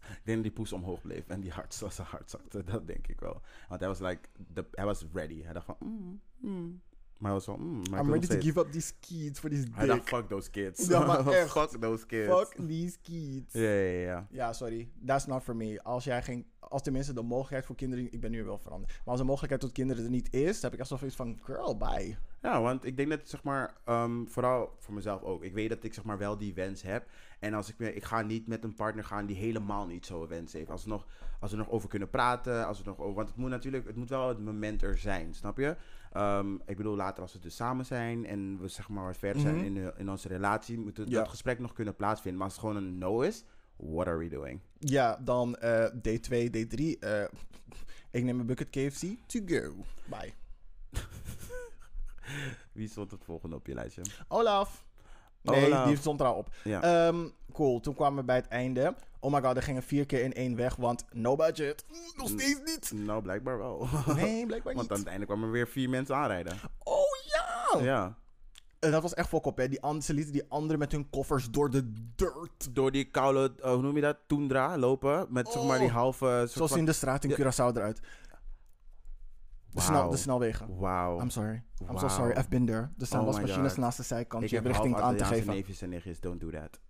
Ik denk dat die poes omhoog bleef en die hart, zo- zijn hart zakte. Dat denk ik wel. Want hij was like, de, hij was ready. Hij dacht van, mm, mm. Maar hij was van, mm, maar ik I'm wil ready nog to steeds. give up these kids for this Hij dacht, dick. fuck those kids. Ja, maar echt. fuck those kids. Fuck these kids. Ja, ja, ja, ja. Ja, sorry. That's not for me. Als jij, geen, als tenminste de mogelijkheid voor kinderen. Ik ben nu wel veranderd. Maar als de mogelijkheid tot kinderen er niet is, dan heb ik alsof iets van girl, bye. Ja, want ik denk dat, zeg maar, ehm, vooral voor mezelf ook. Ik weet dat ik, zeg maar, wel die wens heb. En als ik, me- ik ga niet met een partner gaan die helemaal niet zo'n wens heeft. Als, we nog, als we nog over kunnen praten, als we nog over... Want het moet natuurlijk, het moet wel het moment er zijn, snap je? Ehm, ik bedoel, later als we dus samen zijn en we, zeg maar, wat verder Mhm. zijn in, eh, in onze relatie, moet het, Ja. dat gesprek nog kunnen plaatsvinden. Maar als het gewoon een no is, what are we doing? Ja, dan eh, D2, D3. eh, ik neem een bucket KFC to go. Bye. Wie stond het volgende op je lijstje? Eh. Olaf. Nee, Olaf. die stond er al op. Ja. Ehm, cool, toen kwamen we bij het einde. Oh my god, er gingen vier keer in één weg, want no budget. Mm, Nog steeds niet. nou, blijkbaar wel. Nee, blijkbaar want niet. aan het einde kwamen er weer vier mensen aanrijden. Oh ja! Ja. En dat was echt fokop, hè. Die and- ze lieten die anderen met hun koffers door de dirt. door die koude, eh, hoe noem je dat, tundra lopen. Met zeg maar die Oh. halve... soort Zoals van- in de straat in Ja. Curaçao eruit. De, snel, Wauw. de snelwegen. Wauw. I'm sorry. I'm so Wauw. sorry. I've been there. Er staan Oh my wasmachines God. naast de zijkant. Ik je heb hebt richting richting aan Antilliaanse te geven. neefjes en nichtjes. Don't do that.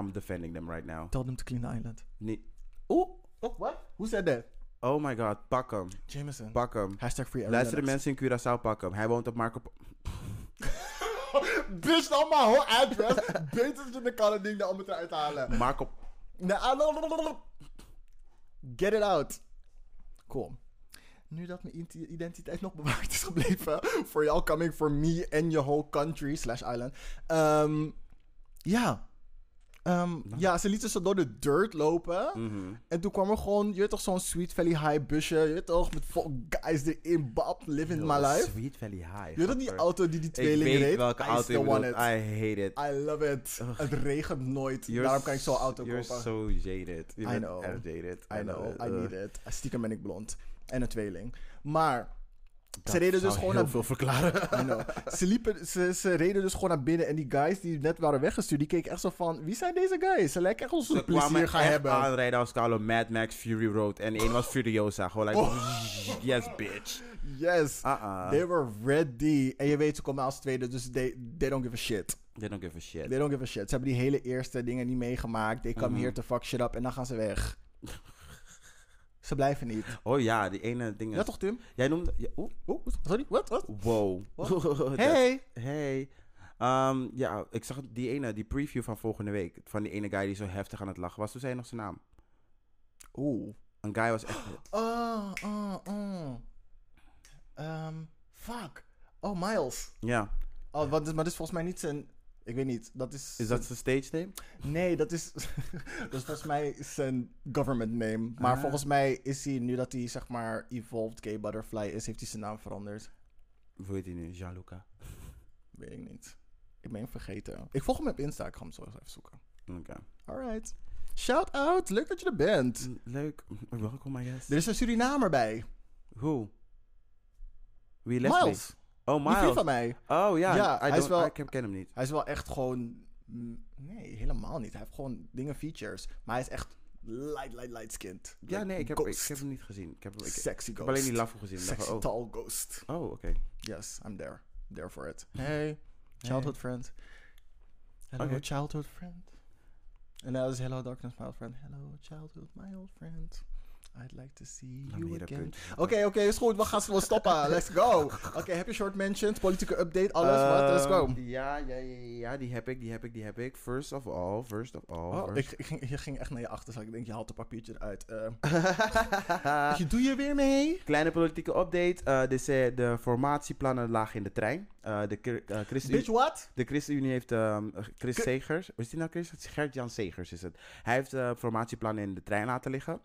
I'm defending them right now. Tell them to clean the island. Nee. Oeh. Oh, what? Who said that? Oh my god. Pak hem. Jameson. Pak hem. Hashtag free Aaron Luister de Lennox. mensen in Curaçao, pak hem. Hij woont op Marco... Po- Bitch, dan mijn whole address. Beter dan de kan het ding daar om het eruit te halen. Marco... Nee, ah, no, no, no, no. Get it out. Cool. Nu dat mijn identi- identiteit nog bewaard is gebleven voor jou coming for me and your whole country slash island. Ehm, ja. Ehm, Ja, ze lieten ze door de dirt lopen. Mhm. En toen kwam er gewoon, je weet toch, zo'n Sweet Valley High busje. Je weet toch, met vol guys erin, bab, living my life. Sweet Valley High. Je weet toch die Gaffer. auto die die Ik tweeling weet reed? welke I auto je still want bedoelt. it. I hate it. I love it. Het regent nooit. You're Daarom kan ik zo'n s- auto You're kopen. so jaded. Je I bent know. echt jaded. I know, I Ugh. need it. Ah, Stiekem ben ik blond. En een tweeling. Maar ze Dat reden dus zou gewoon heel naar... veel verklaren. I know. Ze, liepen, ze, ze reden dus gewoon naar binnen. En die guys die net waren weggestuurd, die keken echt zo van... Wie zijn deze guys? Ze lijken echt ons Ze de politie hier kwamen gaan echt hebben. aanrijden als Carlo Mad Max Fury Road. En één was Furiosa. Gewoon like, Oh. yes bitch. Yes. Uh-uh. They were ready. En je weet, ze komen als tweede, dus they, they don't give a shit. They don't give a shit. They don't give a shit. Ze hebben die hele eerste dingen niet meegemaakt. They Mhm. come here to fuck shit up en dan gaan ze weg. ze blijven niet. Oh ja, die ene ding. is- Ja toch, Tim? Jij noemde... ja, oeh, Oh, sorry, wat? Wat? wow. Dat- Hey! Hey. Ehm, ja, ik zag die ene, die preview van volgende week. Van die ene guy die zo heftig aan het lachen was. Toen zei je nog zijn naam. Oeh. Een guy was echt... Oh, oh, oh. Ehm, fuck. Oh, Miles. Ja. Oh, wat is, maar dat is volgens mij niet zijn... Ik weet niet, dat is... Is dat zijn stage name? Nee, dat is... dat is volgens mij zijn government name. Maar volgens mij is hij, nu dat hij zeg maar Evolved Gay Butterfly is, heeft hij zijn naam veranderd. Hoe heet die nu? Gianluca. Weet ik niet. Ik ben hem vergeten. Ik volg hem op Insta, ik ga hem zo eens even zoeken. Oké. Alright. Shout out, leuk dat je er bent. Leuk. Welkom, I guess. Er is een Surinamer bij. Who? Wie left me? Miles. Oh, Die vriend van Miles. mij. Oh ja, Ja, I hij is don't- wel- Ik ken hem niet. Hij is wel echt gewoon. mm, Nee, helemaal niet. Hij heeft gewoon dingen features. Maar hij is echt light, light, light skinned. Ja, Like nee, ik heb, ik, ghost. heb hem niet gezien. Ik heb, ik, ik Sexy heb ghost. alleen die lafo gezien. Ik dacht Sexy van, oh, tall ghost. oh oké. Yes, I'm there. There for it. Hey, childhood friend. Hello, Oké. childhood friend. En dat is Hello Darkness, my old friend. Hello, childhood, my old friend. I'd like to see Laat me you hier op again. punt. Oké, oké, is goed. We gaan gewoon stoppen. Let's go. Oké, heb je short mentions, politieke update, alles? wat? Let's go. Ehm, Ja, ja, ja, ja, ja, die heb ik, die heb ik, die heb ik. First of all, first of all. Oh, first- ik, ik ging, je ging echt naar je achterzak. Ik denk, je haalt een papiertje eruit. Eh je, doe je weer mee? Kleine politieke update. Eh, dus, eh, de formatieplannen lagen in de trein. Eh, de, Chri- eh, ChristenUnie- Bitch, what? de ChristenUnie heeft ehm, Chris Ke- Segers. Is die nou Chris? Gert-Jan Segers is het. Hij heeft eh, formatieplannen in de trein laten liggen.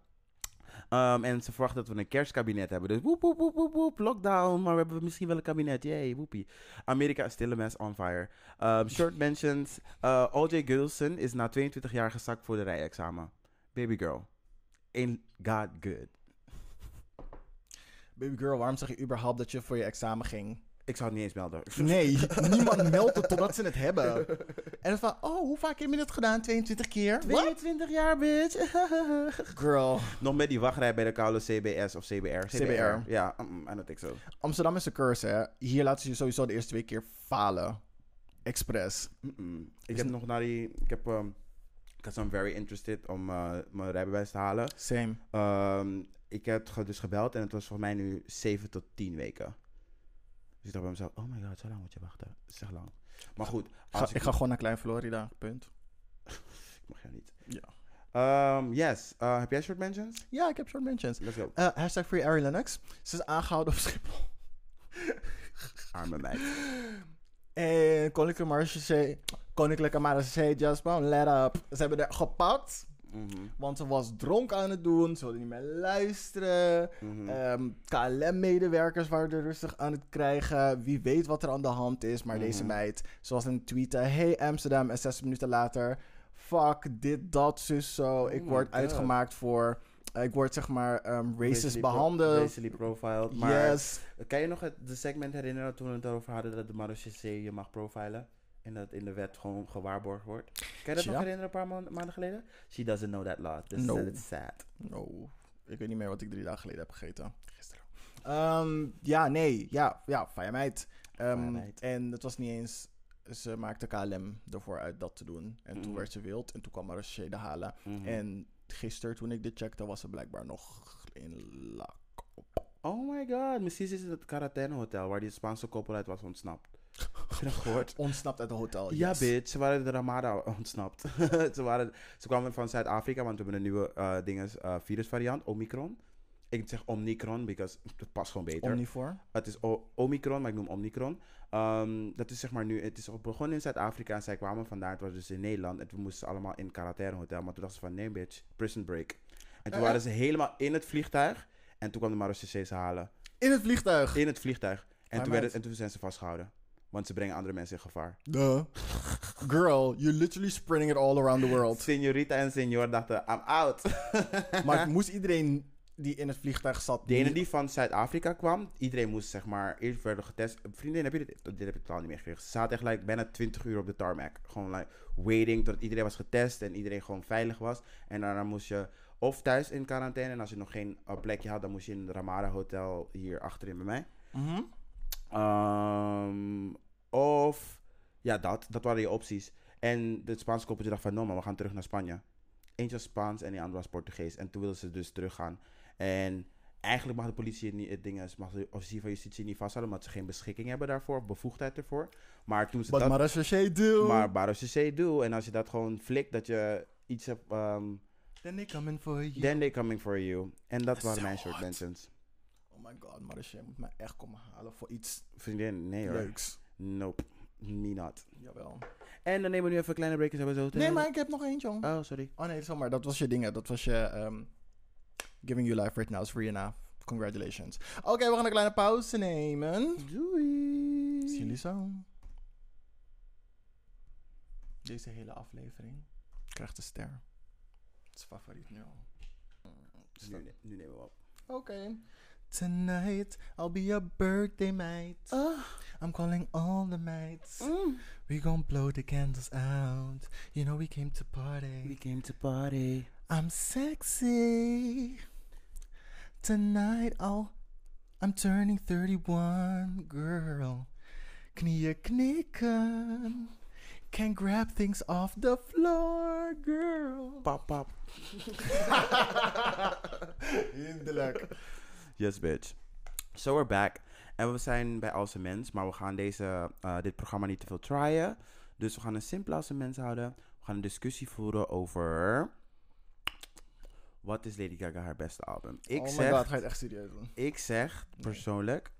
Ehm, en ze verwachten dat we een kerstkabinet hebben. Dus woep, woep, woep, woep, woep, lockdown. Maar we hebben misschien wel een kabinet. Yay, woepie. Amerika is still a mess on fire. Ehm, short mentions. Eh, O.J. Gilson is na 22 jaar gezakt voor de rijexamen. Baby girl. Ain't God good. Baby girl, waarom zeg je überhaupt dat je voor je examen ging? Ik zou het niet eens melden. Nee, niemand meldt het totdat ze het hebben. En dan van, oh, hoe vaak heb je dat gedaan? 22 keer? What? 22 jaar, bitch. Girl. Nog met die wachtrij bij de koude CBS of CBR. CBR. Ja, mm, I don't think so. Amsterdam is een curse, hè. Hier laten ze je sowieso de eerste twee keer falen. Expres. Mm, Mm, Mm-mm. Ik heb nog naar die... Ik heb ehm, Because I'm very interested om eh, mijn rijbewijs te halen. Same. Ehm, ik heb ge- dus gebeld en het was voor mij nu 7 tot 10 weken. Dus ik dacht bij mezelf, oh my god, zo lang moet je wachten. Het is echt lang. Maar goed, Ga- als ik, ga gewoon naar Klein Florida, punt. ik mag jou niet. Ja. Ehm, yes, Eh, heb jij short mentions? Ja, ik heb short mentions. Let's go. Eh, hashtag Free Ari Lennox. Ze is aangehouden op Schiphol. Arme meid. En Koninklijke Marseille, Koninklijke Marseille, just one, let up. Ze hebben haar gepakt, Mhm, want ze was dronk aan het doen. Ze wilde niet meer luisteren. mhm. Ehm, KLM-medewerkers waren er rustig aan het krijgen. Wie weet wat er aan de hand is. Maar deze Mhm. meid, zoals een tweet, eh, hey Amsterdam. En zes minuten later, fuck dit, dat, zus, zo. Oh ik my word God. uitgemaakt voor, eh, ik word zeg maar ehm, racist Racially pro- behandeld. Racially profiled. Maar yes. kan je nog het de segment herinneren toen we het erover hadden dat de Marochisee je mag profilen? En dat in de wet gewoon gewaarborgd wordt. Kan je dat Ja. nog herinneren een paar ma- maanden geleden? She doesn't know that law. This No. is it's sad. Oh, ik weet niet meer wat ik drie dagen geleden heb gegeten. Gisteren. Ehm, ja, nee. Ja, ja fijne meid. Ehm, Fijne meid. En het was niet eens... Ze maakte KLM ervoor uit dat te doen. En toen Mhm. werd ze wild. En toen kwam Marseille de halen. Mhm. En gisteren, toen ik dit checkte, was ze blijkbaar nog in lak. Oh my god, misschien is het het quarantaine hotel waar die Spaanse koppel uit was ontsnapt. Heb je dat gehoord? Ontsnapt uit het hotel. Ja, Oh, yes. bitch, ze waren de Ramada ontsnapt. ze, waren, ze kwamen van Zuid-Afrika, want we hebben een nieuwe eh dinges, eh, virusvariant, Omicron. Ik zeg Omicron, because het past gewoon beter. Omnivoor. het is O- Omicron, maar ik noem Omicron. Ehm, dat is zeg maar nu, het is begonnen in Zuid-Afrika en zij kwamen vandaar. Het was dus in Nederland en toen moesten ze allemaal in quarantaine hotel. Maar toen dachten ze van, nee bitch, prison break. En toen Eh, waren ze helemaal in het vliegtuig en toen kwam de Marochisee ze halen. In het vliegtuig. In het vliegtuig. En toen, Fijn werd meid. het- en toen zijn ze vastgehouden. Want ze brengen andere mensen in gevaar. Duh. Girl, you're literally spreading it all around the world. Signorita en senor dachten, I'm out. maar moest iedereen die in het vliegtuig zat... De ene niet- die van Zuid-Afrika kwam, iedereen moest zeg maar eerst werden getest. Vriendin, heb je dit? Dit heb ik totaal niet meegekregen. Ze zaten echt like, bijna 20 uur op de tarmac. Gewoon like, waiting tot iedereen was getest en iedereen gewoon veilig was. En daarna moest je of thuis in quarantaine. En als je nog geen eh, plekje had, dan moest je in het Ramada Hotel hier achterin bij mij. Mhm. Ehm, of, ja, dat. Dat waren je opties. En het Spaanse koppeltje dacht van, no man, we gaan terug naar Spanje. Eentje was Spaans en die andere was Portugees. En toen wilden ze dus teruggaan. En eigenlijk mag de politie het niet, het ding is, mag de officier van justitie niet vasthouden, omdat ze geen beschikking hebben daarvoor, of bevoegdheid ervoor. Maar toen ze Wat Dus dat... Marseille do. Maar Baros C doe. En als je dat gewoon flikt, dat je iets hebt... ehm Then they come in for you. Then they coming for you. En dat is waren zo mijn short hard. mentions. Oh my god, Marseille moet mij echt komen halen voor iets Vriendin, nee hoor. leuks. Nope. Me not. Jawel. En dan nemen we nu even een kleine breakjes hebben we zo te- Nee, maar ik heb nog eentje, jong. Oh, sorry. Oh nee, sorry, maar dat was je dingen. Dat was je ehm, Giving You Life Right Now is Rihanna. Congratulations. Oké, we gaan een kleine pauze nemen. Doei. Zien jullie zo. Deze hele aflevering krijgt een ster. Het is favoriet nu al. Nu, ne- nu nemen we op. Oké. Tonight, I'll be your birthday mate. Oh. I'm calling all the mates. We gon' blow the candles out. You know we came to party. came to party. I'm sexy. Tonight I'll I'm turning 31, girl. Knieën knikken. Can grab things off the floor, girl. Pap, pap. Hinderlijk. Yes, bitch. So we're back. En we zijn bij Als een Mens, maar we gaan deze, eh, dit programma niet te veel tryen. Dus we gaan een simpele Als een Mens houden. We gaan een discussie voeren over... Wat is Lady Gaga haar beste album? Ik oh zeg, my god, ga je het echt serieus doen? ik zeg persoonlijk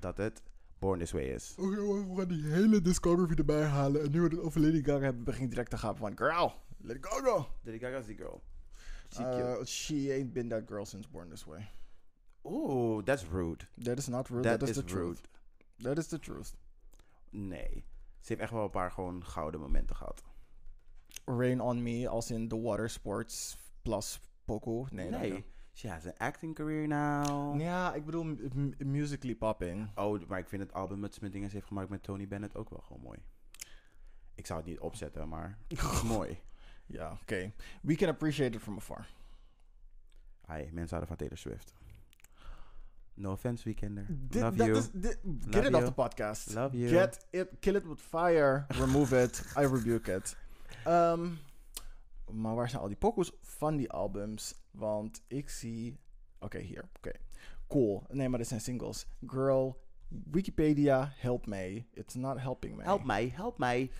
dat het Born This Way is. Oh, We gaan die hele discography erbij halen. En nu we het over Lady Gaga hebben, begint direct te gaan van... Girl, Lady Gaga. Lady Gaga is die girl. She cute. Uh, she ain't been that girl since Born This Way. Oeh, that's rude. That is not rude. That That, is, is the rude. truth. That is the truth. Nee. Ze heeft echt wel een paar gewoon gouden momenten gehad. Rain on Me als in The Water Sports plus Poco. Nee, dank je. She has an acting career now. Ja, ik bedoel m- m- musically popping. Oh, maar ik vind het album dat ze met dingen heeft gemaakt met Tony Bennett ook wel gewoon mooi. Ik zou het niet opzetten, maar het is mooi. Ja, oké. We can appreciate it from afar. Hi, mensen houden van Taylor Swift. No offense, Weekender. Dit- Love dat you. is- dit- get Love it you. off the podcast. Love you. Get it, kill it with fire. Remove it. I rebuke it. Ehm, Maar waar zijn al die pokus van die albums? Want ik zie. Oké, hier. Oké. Cool. Nee, maar dit zijn singles. Girl, Wikipedia, help me. It's not helping me. Help mij, help mij.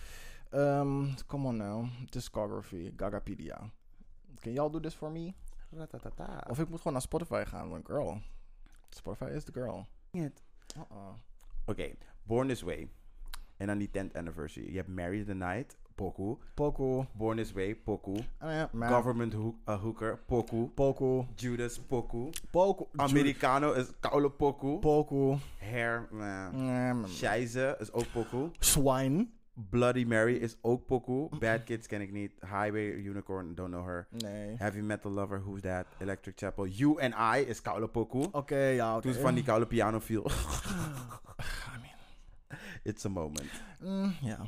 Um, come on now. Discography, Gagapedia. Can y'all do this for me? Ratatata. Of ik moet gewoon naar Spotify gaan, want girl. Spotify is the girl. Oké, Uh-uh. Born This Way. En dan die 10th anniversary. Je hebt Marry the Night, Poku. Poku. Born This Way, Poku. Eh, man. Government Hook- eh, Hooker, Poku. Poku. Judas, Poku. Poku. Americano is koude Poku. mm. Poku. Hair, man. Eh, man. Scheize is ook Poku. Swine. Bloody Mary is ook Poku. Bad Kids ken ik niet. Highway Unicorn, don't know her. Nee. Oké, Heavy Metal Lover, Who's That? Electric Chapel. You and I is koude Poku. ja, oké. Toen ze van die koude piano viel. Ah. I mean, It's a moment. mm, ja.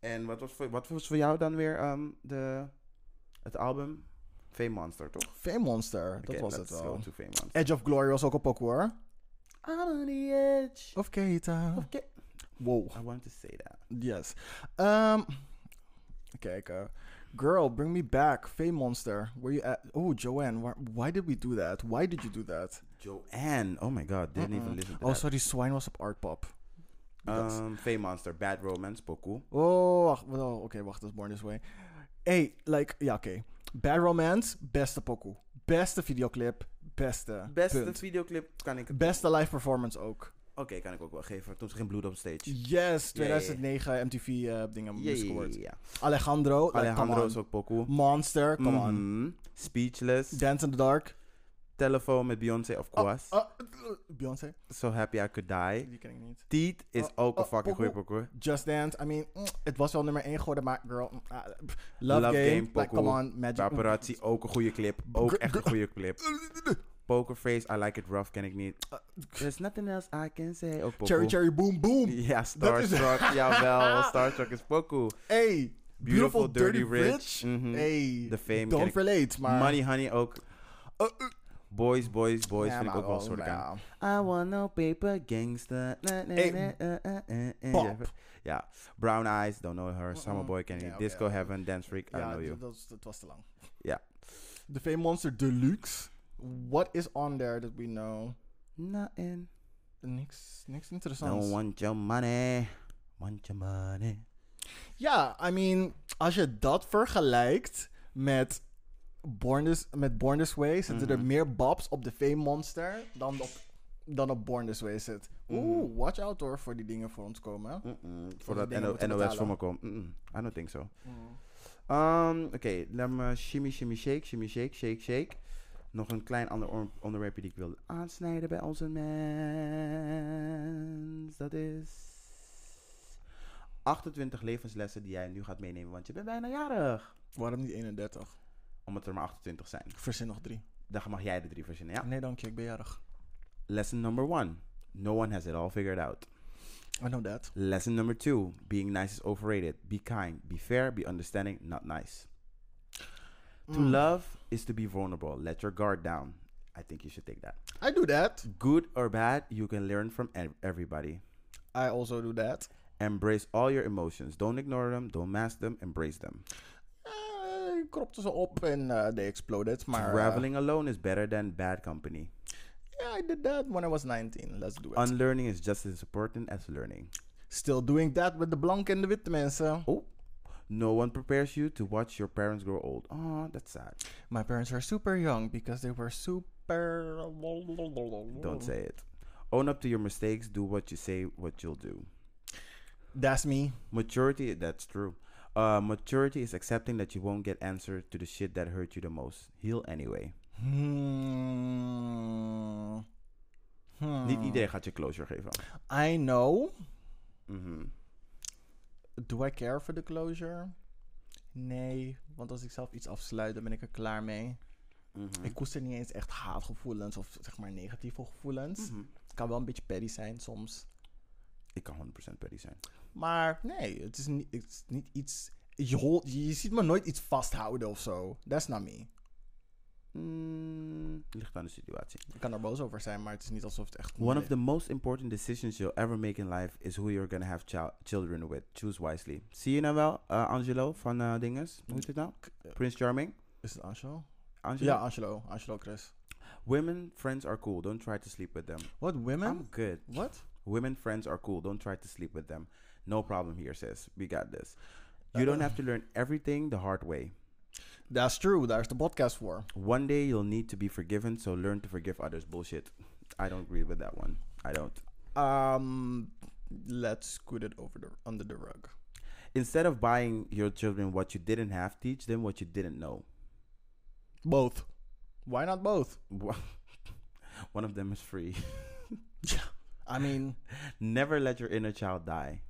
En wat was voor, wat was voor jou dan weer ehm, de, het album? Fame Monster, toch? Fame Monster, dat Oké, was het let's wel. go to Fame Monster. Edge of Glory was ook een pokoe hoor. I'm on the edge. Of Keita. Oké. Wow, I wanted to say that. yes. Ehm kijk, eh, Girl, Bring Me Back, Fame Monster. Where you at? Oh, Joanne, why, why did we do that? Why did you do that? Joanne. Oh my god, didn't even Mm-mm. listen to Oh, that. sorry, Swine was op Art Pop. Yes. Ehm, Fame Monster, Bad Romance, Poku. Oh, wacht, oh, oké, wacht, dat is Born This Way. Hey, like, ja, oké. Bad Romance, beste pokoe. Beste videoclip, beste. Beste punt. videoclip kan ik... Beste live performance ook. Oké, kan ik ook wel geven. Toen ze geen bloed op stage. Yes, Ja, ja, ja. 2009 MTV eh, dingen Ja, Music ja, Awards. ja, ja. Alejandro, like, Alejandro is come ook Poku. on. Monster, come on. Mhm. Speechless. Dance in the Dark. Telephone met Beyoncé, of course. Oh, eh, Beyoncé, So Happy I Could Die. die ken ik niet. Teeth is Oh, ook een oh, fucking goeie Poku. Poku. Just Dance, I mean, mm, het was wel nummer 1 geworden, maar girl, mm, ah, pff, Love, Love Game, Game, like, pokoe. come on, Magic. Paparazzi, ook een goede clip. Ook Gr- echt een goede clip. Pokerface, I Like It Rough, ken ik niet. Eh, There's nothing else I can say. Ook Poku. Cherry Cherry Boom Boom. Ja, Starstruck. jawel, Starstruck is Poku. Hey, Beautiful, Dirty, Rich. Mhm. Hey, The Fame ken don't ik. relate, maar... Money Honey ook. Eh, eh, Boys, Boys, Boys ja, vind ik maar ook wel oh, soort aan. nou. I want no paper gangster. Na, na, Hey, na, eh, eh, eh, eh. Pop. Ja, Brown Eyes, don't know her. Summer Mm-mm. Boy, ken ik Ja, niet. oké, Disco oké. Heaven, Dance Freak, I don't Ja, know you. dat, was- dat was te lang. Ja. The Fame Monster Deluxe. What is on there that we know? Nothing. Niks, niks interessants. Don't want your money. Want your money. Ja, I mean, als je dat vergelijkt met Born This, met Born This Way, zitten er Mhm. meer babs op de Fame Monster dan op, dan op Born This Way zit. Mhm. Oeh, watch out hoor voor die dingen voor ons komen. Mm-mm, die Voordat dingen NO moeten NOS voor betalen. Mm. me komt. Mm-mm, I don't think so. Um, Oké, laat me shimmy, shimmy, shake, shimmy, shake, shake, shake. Nog een klein ander on- onderwerpje die ik wilde aansnijden bij onze mens. Dat is 28 levenslessen die jij nu gaat meenemen, want je bent bijna jarig. Waarom niet 31? Omdat er maar 28 zijn. Ik verzin nog drie. Dan mag jij de drie verzinnen, ja? Nee, dank je, ik ben jarig. Lesson number one. No one has it all figured out. I know that. Lesson number two. Being nice is overrated. Be kind, be fair, be understanding, not nice. To Mm. love is to be vulnerable. Let your guard down. I think you should take that. I do that. Good or bad, you can learn from ev- everybody. I also do that. Embrace all your emotions. Don't ignore them. Don't mask them. Embrace them. Eh, ik kropte ze op en eh, they exploded. Maar, eh, Traveling alone is better than bad company. yeah, I did that when I was 19. Let's do it. Unlearning is just as important as learning. Still doing that with de blanke en de witte mensen. Oh, no one prepares you to watch your parents grow old. Oh, that's sad. My parents were super young because they were super. Don't say it. Own up to your mistakes. Do what you say, what you'll do. That's me. Maturity, that's true. Uh, maturity is accepting that you won't get answer to the shit that hurt you the most. Heal anyway. Hmm. Hmm. Niet iedereen gaat je closure geven. I know. Mhm. Do I care for the closure? Nee, want als ik zelf iets afsluit, dan ben ik er klaar mee. Mhm. Ik koester niet eens echt haatgevoelens of zeg maar negatieve gevoelens. Mhm. Het kan wel een beetje petty zijn soms. Ik kan 100% petty zijn. Maar nee, het is niet, het is niet iets. Je, hol- je ziet me nooit iets vasthouden of zo. That's not me. Mm, ligt aan de situatie. Ik kan er boos over zijn, maar het is niet alsof het echt... One of the most important decisions you'll ever make in life is who you're gonna have chil- children with. Choose wisely. Zie je nou wel, eh, Angelo van eh, Dinges? Hoe heet het nou? Prince Charming? Is het Angelo? Angelo? Ja, Angelo. Angelo Chris. Women friends are cool. Don't try to sleep with them. What, women? I'm good. What? Women friends are cool. Don't try to sleep with them. No problem here, sis. We got this. You don't have to learn everything the hard way. That's true. Daar is de podcast voor. One day you'll need to be forgiven, so learn to forgive others. Bullshit. I don't agree with that one. I don't. Um, let's scoot it over the, under the rug. Instead of buying your children what you didn't have, teach them what you didn't know. Both. Why not both? Wha- One of them is free. I mean, Never let your inner child die.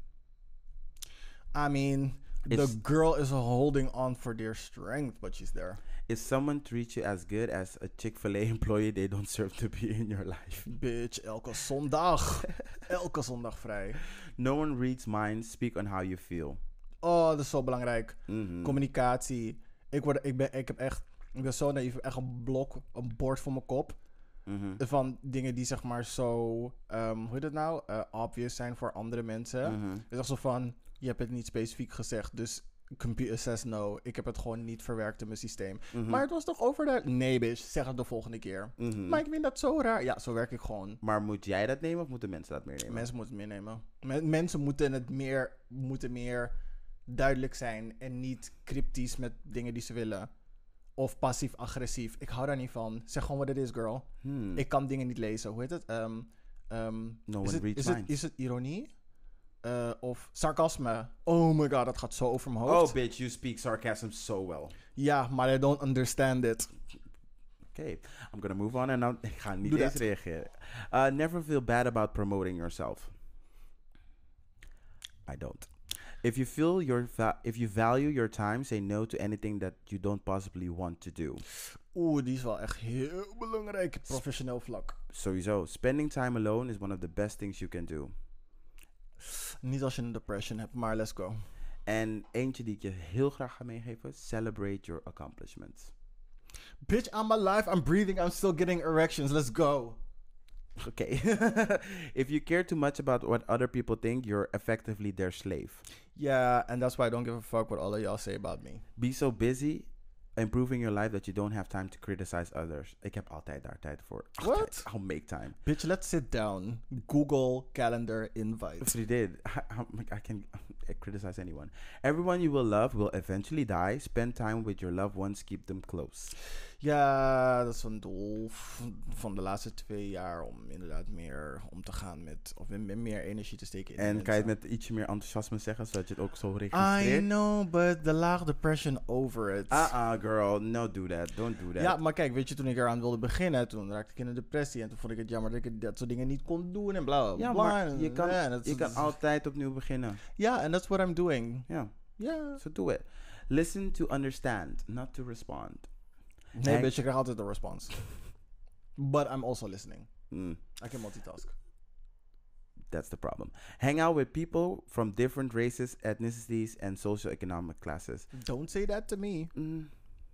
I mean, It's- the girl is holding on for dear strength, but she's there. If someone treats you as good as a Chick fil A employee, they don't serve to be in your life. Bitch, elke zondag. elke zondag vrij. No one reads minds, speak on how you feel. Oh, dat is zo belangrijk. Mhm. Communicatie. Ik, word, ik, ben, ik heb echt... Ik ben zo naïef. Ik heb Echt een blok, een bord voor mijn kop. Mhm. Van dingen die zeg maar zo... ehm, hoe heet het nou? Eh, obvious zijn voor andere mensen. Mhm. Het is echt zo van... Je hebt het niet specifiek gezegd, dus... Computer says no. Ik heb het gewoon niet verwerkt in mijn systeem. Mhm. Maar het was toch overduidelijk? Nee, bitch. Zeg het de volgende keer. Mhm. Maar ik vind dat zo raar. Ja, zo werk ik gewoon. Maar moet jij dat nemen of moeten mensen dat meer nemen? Mensen moeten het meenemen. Men- mensen moeten het meer, moeten meer duidelijk zijn en niet cryptisch met dingen die ze willen. Of passief-agressief. Ik hou daar niet van. Zeg gewoon wat het is, girl. Hmm. Ik kan dingen niet lezen. Hoe heet het? Ehm, ehm, No is, one het reads is, het, minds. is het ironie? Eh, of sarcasme? Oh my god, dat gaat zo over mijn hoofd. oh, bitch, you speak sarcasm so well. Oké, Ja, maar I don't understand it. I'm gonna move on en dan ik ga niet Doe eens dat. reageren. Uh, never feel bad about promoting yourself. I don't. If you feel your va- if you value your time, say no to anything that you don't possibly want to do. Oeh, die is wel echt heel belangrijk. Professioneel vlak. Sowieso, spending time alone is one of the best things you can do. Niet als je een depression hebt, maar let's go. En eentje die ik je heel graag ga meegeven: celebrate your accomplishments. Bitch, I'm alive, I'm breathing, I'm still getting erections, let's go. Okay. if you care too much about what other people think, you're effectively their slave. Yeah, and that's why I don't give a fuck what all of y'all say about me. Be so busy improving your life that you don't have time to criticize others. Ik heb altijd daar tijd voor. Altijd. What? I'll make time. Bitch, let's sit down. Google calendar invite. Vriendin, I, I, I can I criticize anyone. Everyone you will love will eventually die. Spend time with your loved ones. Keep them close. Ja, dat is een doel v- van de laatste twee jaar om inderdaad meer om te gaan met, of met meer energie te steken in de En kan je het mensen. met ietsje meer enthousiasme zeggen, zodat je het ook zo I registreert? know, but the laag depression over it. Uh-uh, girl. No, do that. Don't do that. Ja, maar kijk, weet je, toen ik eraan wilde beginnen, toen raakte ik in een depressie. En toen vond ik het jammer dat ik dat soort dingen niet kon doen en bla bla Ja, bla. maar En- je kan, ja, en dat- je kan altijd opnieuw beginnen. Ja, and that's what I'm doing. Ja, Ja. so do it. Listen to understand, not to respond. Nee, Hey. bitch, ik krijg altijd een response. But I'm also listening. Mm, I can multitask. that's the problem. Hang out with people from different races, ethnicities, and socioeconomic classes. Don't say that to me. Mm,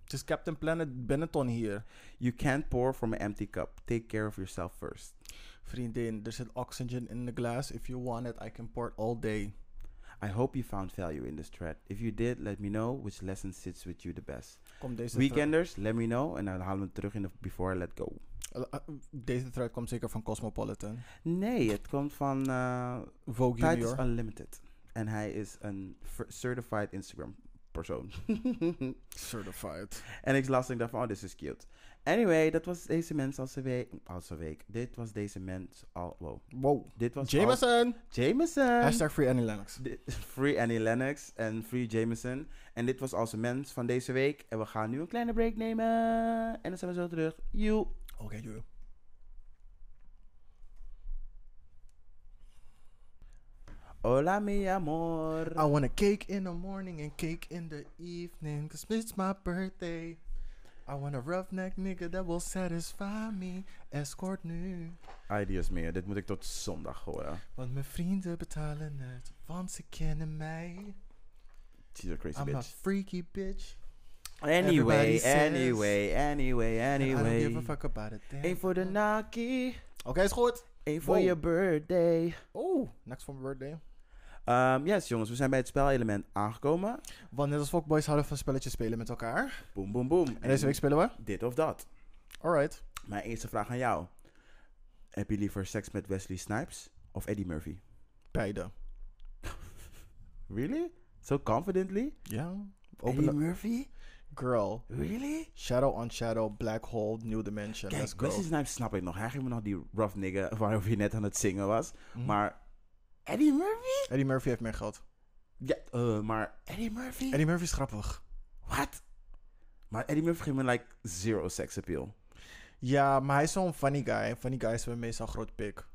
Het is Captain Planet Benetton hier. You can't pour from an empty cup. Take care of yourself first. Vriendin, er zit oxygen in the glass. If you want it, I can pour it all day. I hope you found value in this thread. If you did, let me know which lesson sits with you the best. Kom deze Weekenders, let me know. En dan halen we het terug in de Before I Let Go. thru- eh, eh, deze thread komt zeker van Cosmopolitan. Nee, het komt van eh, Vogue Tijd is Junior. unlimited. En hij is een ver- certified Instagram persoon. Certified. en ik las en ik dacht van, oh, dit is cute. Anyway, dat was deze mens als een week. Als een week. Dit was deze mens al... Wow. Wow. Dit was al- Jameson! Jameson! Hashtag Free Annie Lennox. Dit- Free Annie Lennox en Free Jameson. En dit was als een mens van deze week. En we gaan nu een kleine break nemen. En dan zijn we zo terug. Joe. Oké, joh. Hola mi amor. I want a cake in the morning and cake in the evening, cause it's my birthday. I want a roughneck nigga that will satisfy me. Escort nu. Ah. Ideas meer. Dit moet ik tot zondag horen. Want mijn vrienden betalen het, want ze kennen mij. She's a crazy I'm a bitch. freaky bitch. Anyway, Everybody says- anyway, anyway, I don't give a anyway. fuck about it. Eén voor de Naki, Oké, is goed. één voor Wow. je birthday. Oeh, next for my birthday. Ehm, yes, jongens, we zijn bij het spelelement aangekomen. Want net als Fokboys houden van spelletjes spelen met elkaar. Boom, boom, boom. En deze week spelen we? dit of dat. Alright. Mijn eerste vraag aan jou. Heb je liever seks met Wesley Snipes of Eddie Murphy? Beide. Really? So confidently? Ja. Eddie Open Murphy? Girl. Really? Shadow on shadow, black hole, new dimension. Let's Kijk, go. Wesley Snipes snap ik nog. Hij ging me nog die rough nigga waarover je net aan het zingen was. Maar Eddie Murphy? Mhm. Eddie Murphy heeft meer geld. Ja, eh, maar Eddie Murphy? Eddie Murphy is grappig. What? Maar Eddie Murphy geeft me like zero sex appeal. Ja, maar hij is zo'n funny guy. Funny guys hebben meestal een groot pik.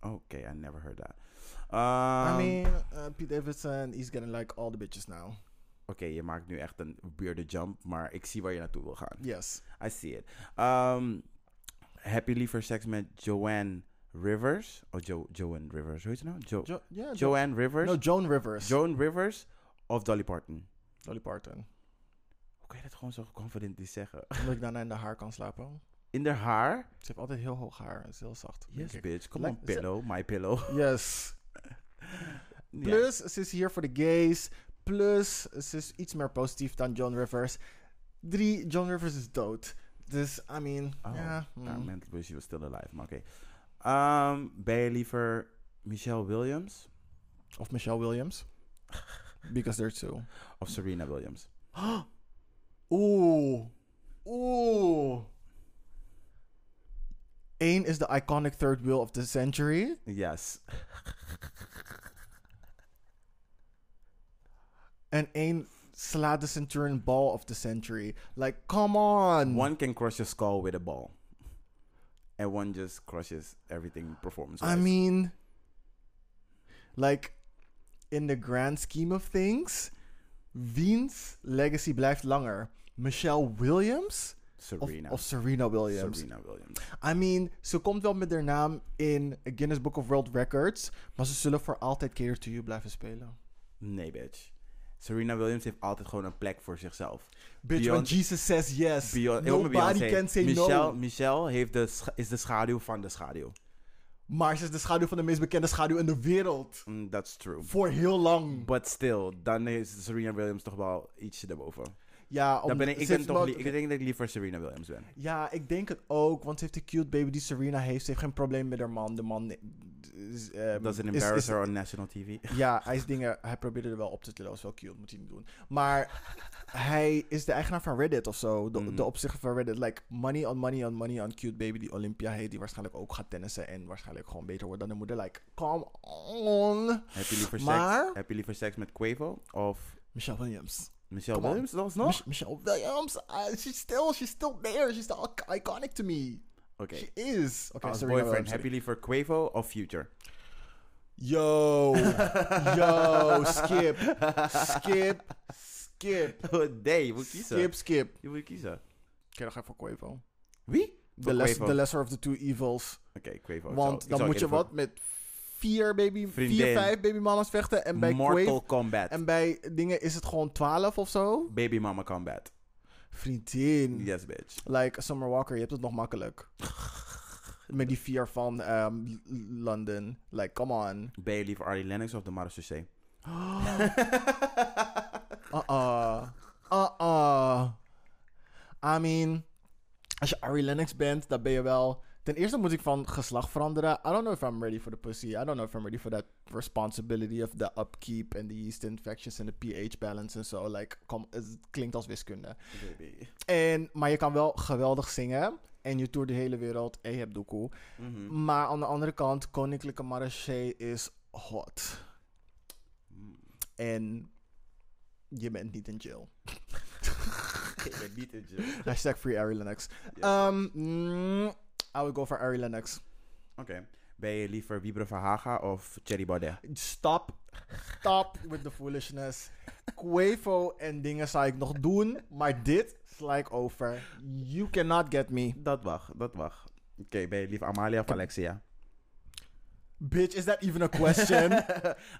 Oké, I never heard that. Ehm, I mean, eh, Pete Davidson is getting like all the bitches now. Oké, je maakt nu echt een weirde jump, maar ik zie waar je naartoe wil gaan. Yes. I see it. Ehm, heb je liever seks met Joanne Rivers? Oh, jo Joanne Rivers, hoe heet ze nou? Jo Jo yeah, Jo- Joanne Rivers? no, Joan Rivers. Joan Rivers of Dolly Parton? Dolly Parton. Hoe kan je dat gewoon zo confident niet zeggen? Omdat ik daarna in de haar kan slapen. In haar haar? Ze heeft altijd heel hoog haar. Ze is heel zacht. denk Yes, ik. bitch. Come on, Lijkt- ze- pillow. My pillow. Yes. Plus, ze is hier voor de gays. Plus, ze is iets meer positief dan John Rivers. Drie, John Rivers is dood. Dus, I mean, Oh, ja. mm. Yeah. I meant she was still alive, maar oké. Ehm, ben je liever Michelle Williams Of Michelle Williams. Because they're two. of Serena Williams? Oeh. Oeh. Eén is de iconic third wheel of the century. Yes. En één slaat de centurion ball of the century. Like, come on. One can crush your skull with a ball. And one just crushes everything performance I mean, like, in the grand scheme of things, wiens legacy blijft langer? Michelle Williams of, Serena. of Serena Williams? Serena Williams. I mean, ze komt wel met haar naam in Guinness Book of World Records, maar ze zullen voor altijd Cater to You blijven spelen. Nee, bitch. Serena Williams heeft altijd gewoon een plek voor zichzelf. Bitch, when Beyoncé- Jesus says yes, Beyon- heel met nobody Beyoncé. can say Michelle, no. Michelle heeft de scha- is de schaduw van de schaduw. Maar ze is de schaduw van de meest bekende schaduw in de wereld. Mm, that's true. Voor heel lang. But still, dan is Serena Williams toch wel ietsje erboven. Ja, Dan om- ben ik, ik, ze ben heeft toch wel- li- ik denk dat ik liever Serena Williams ben. Ja, ik denk het ook, want ze heeft een cute baby die Serena heeft. Ze heeft geen probleem met haar man. De man is... ehm, Dat is een is- embarrasser on national TV. Ja, hij is dingen... Hij probeerde er wel op te tillen. was wel cute, moet hij niet doen. Maar hij is de eigenaar van Reddit of zo. De, Mm. de opzichter van Reddit. Like, money on money on money on cute baby die Olympia heet. Die waarschijnlijk ook gaat tennissen en waarschijnlijk gewoon beter wordt dan de moeder. Like, come on. Heb je liever Maar- seks? Heb je liever seks met Quavo of Michelle Williams. Michelle Come on. Williams? Dat was nog. Mich- Michelle Williams. Uh, she's still, she's still there. She's still iconic to me. Oké. She is. Oké, Als Serena boyfriend, Williams, heb je liever Quavo of Future? Yo, yo, skip, skip, skip, Oh, nee, je moet kiezen. skip, skip. Oké, Je moet kiezen. dan ga ik voor Quavo. Wie? The, Voor less, Quavo. the lesser of the two evils. Oké, Quavo. Ik zal- Want ik dan zal moet je even- wat met vier baby, Vriendin. vier, vijf babymama's vechten. En bij Mortal Quavo, Kombat. en bij dingen is het gewoon twaalf of zo. Baby Mama Combat. Vriendin. Yes, bitch. Like Summer Walker, je hebt het nog makkelijk. met die vier van ehm, L- London. Like, come on. Ben je liever Arlie Lennox of de Marseille? Uh-uh. Uh-uh. I mean, als je Ari Lennox bent, dan ben je wel... Ten eerste moet ik van geslacht veranderen. I don't know if I'm ready for the pussy. I don't know if I'm ready for that responsibility of the upkeep and the yeast infections and the pH balance en zo. Like, kom, het klinkt als wiskunde. Baby. En, maar je kan wel geweldig zingen. En je toert de hele wereld en je hebt doekoe. Maar aan de andere kant, Koninklijke Marché is hot. En je bent niet in jail. Ik ben niet in jail. Hashtag free Ari Lennox. Ja. Um, mm, I would go for Ari Lennox. Oké. Ben je liever Wiebren Verhaga of Thierry Baudet? Stop. Stop with the foolishness. Quavo en dingen zou ik nog doen. Maar dit sla ik over. You cannot get me. Dat mag, dat mag. Oké, ben je liever Amalia of Alexia? Bitch, is that even a question?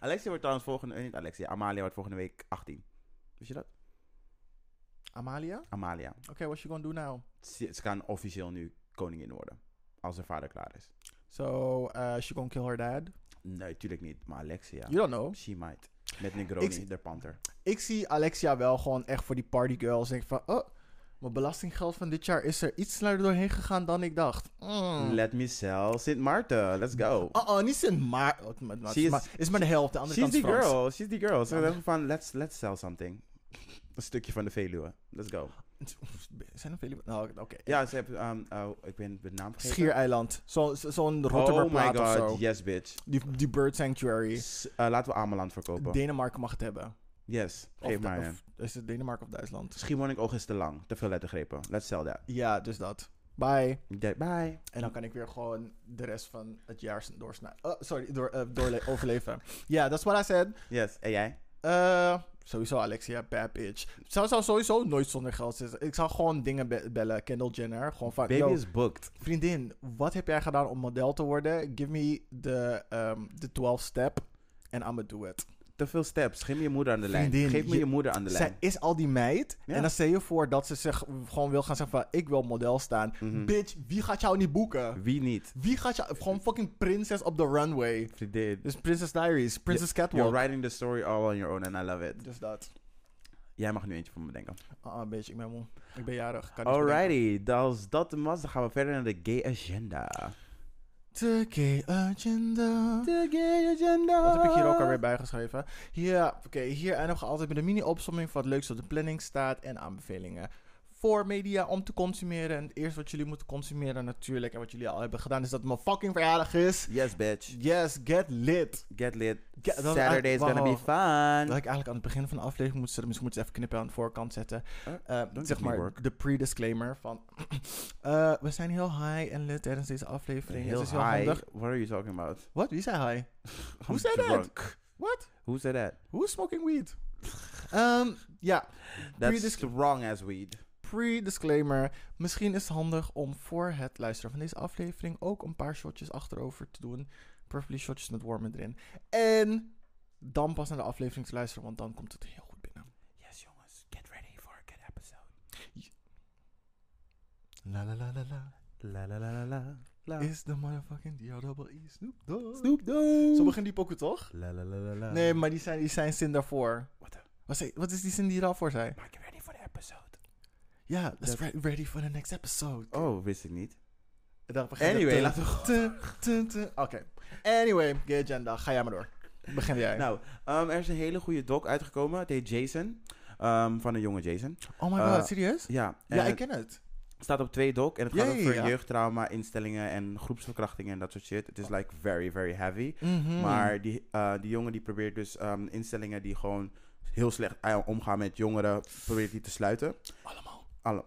Alexia wordt trouwens volgende... eh, Niet Alexia, Amalia wordt volgende week 18. Wist je dat? Amalia? Amalia. Okay, what you gonna do now? Ze, ze kan officieel nu koningin worden. Als haar vader klaar is. So, uh, she gonna kill her dad? Nee, tuurlijk niet. Maar Alexia. You don't know. She might. Met Negroni, Ik- de panter. Ik zie Alexia wel gewoon echt voor die partygirls. Denk van, oh, mijn belastinggeld van dit jaar is er iets sneller doorheen gegaan dan ik dacht. Mm. Let me sell Sint Maarten. Let's go. Oh, oh, niet Sint Maar. oh, maar- maar- She is- maar- is maar de helft, de andere She's kant is the Frans. girl. She's the girl. Ze Ja. dachten van, let's, let's sell something. Een stukje van de Veluwe. Let's go. Zijn er veel... Nou, oké. Ja, ze hebben... ehm, oh, ik ben de naam vergeten. Schiereiland. Zo- zo- Zo'n Oh my Rotterdamplaat of zo. god, yes bitch. Die, die bird sanctuary. S- eh, laten we Ameland verkopen. Denemarken mag het hebben. yes, Of, geef Du- mij hem. of- is het Denemarken of Duitsland? Schiermonnikoog is te lang. Te veel lettergrepen. Let's sell that. Ja, dus dat. Bye. Okay, bye. En dan kan ik weer gewoon de rest van het jaar doorsnijden. Oh, sorry, door, eh, doorle- overleven. Ja, that's what I said. Yes, en jij? Eh, sowieso Alexia, bad bitch. Zou, zou sowieso nooit zonder geld zitten. Ik zou gewoon dingen be- bellen. Kendall Jenner. Gewoon van, Baby yo, is booked. vriendin, wat heb jij gedaan om model te worden? Give me the, ehm the 12 step and I'ma do it. Te veel steps. Geef me je moeder aan de lijn. Vriendin, Geef me je- je, moeder aan de Zij lijn. is al die meid. Ja. En dan stel je voor dat ze zich gewoon wil gaan zeggen van... Ik wil model staan. Mhm. Bitch, wie gaat jou niet boeken? Wie niet? Wie gaat jou... Gewoon fucking princess op the runway. Vriendin. Dus Princess Diaries. Princess Catwalk. You're writing the story all on your own and I love it. Dus dat. Jij mag nu eentje voor me denken. Ah, ah, bitch, ik ben moe. Ik ben jarig. Kan niet bedenken. Alrighty, als dat hem was, dan gaan we verder naar de gay agenda. The gay agenda. De gay agenda. Wat heb ik hier ook alweer bijgeschreven? Ja, oké. hier eindigen we altijd met een mini-opsomming van wat leuks op de planning staat en aanbevelingen. Voor media om te consumeren. En het eerste wat jullie moeten consumeren natuurlijk en wat jullie al hebben gedaan is dat het mijn fucking verjaardag is. Yes, bitch. Yes, get lit. Get lit. Get- dat was Saturday's eigenlijk- gonna be Dat had fun. ik eigenlijk aan het begin van de aflevering moet zetten. Misschien moet ik het even knippen aan de voorkant zetten. Eh, Eh, don't zeg give me maar work. de pre-disclaimer van... eh, we zijn heel high en lit tijdens deze aflevering. Heel Het is heel high. handig. What are you talking about? Wat? Wie zei high? I'm said that? drunk. What? Who said that? Who's smoking weed? Ehm, ja, That's Pre-disc- wrong as weed. pre-disclaimer. Misschien is het handig om voor het luisteren van deze aflevering ook een paar shotjes achterover te doen. Preferably shotjes met wormen erin. En dan pas naar de aflevering te luisteren, want dan komt het heel goed binnen. Yes, jongens. Get ready for a good episode. La la la la la. La la la la la. la. Is de motherfucking D-O-E-E E Snoop Dogg. Snoop Dogg. Zo begint die pokken toch? La la la la la. Nee, maar die zijn, die zijn zin daarvoor. What the- Wat, zei- wat is die zin die daarvoor zei? Maar get ready for the episode. Ja, let's Dat- re- ready for the next episode. Oh, wist ik niet. Dan begint het Anyway, te- laten we gewoon... eh, Tun, tun, tun. Oké. Anyway, gay agenda. Ga jij maar door. Begin jij. Nou, ehm, er is een hele goede doc uitgekomen. Het heet Jason. Ehm, van een jonge Jason. oh my god, eh, serieus? Ja. Ja, en ik ken het. Het staat op twee doc. En het gaat Ja, ja, over ja. jeugdtrauma, instellingen en groepsverkrachtingen en dat soort shit. Het Oh. is like very, very heavy. Mhm. Maar die, eh, die jongen die probeert dus ehm, instellingen die gewoon heel slecht eh, omgaan met jongeren, probeert die te sluiten. Allemaal. Alle,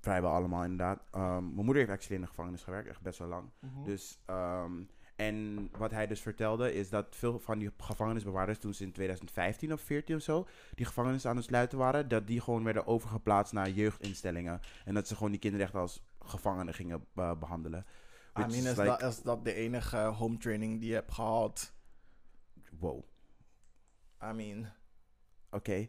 vrijwel allemaal inderdaad. Ehm, mijn moeder heeft actually in de gevangenis gewerkt, echt best wel lang. Mhm. Hm? Dus, ehm, en wat hij dus vertelde is dat veel van die gevangenisbewaarders toen ze in 2015 of 14 of zo die gevangenis aan het sluiten waren, dat die gewoon werden overgeplaatst naar jeugdinstellingen. En dat ze gewoon die kinderen echt als gevangenen gingen eh, behandelen. I Which mean, is, is dat, like, is dat de enige eh, home training die je hebt gehad? wow. I mean... Oké.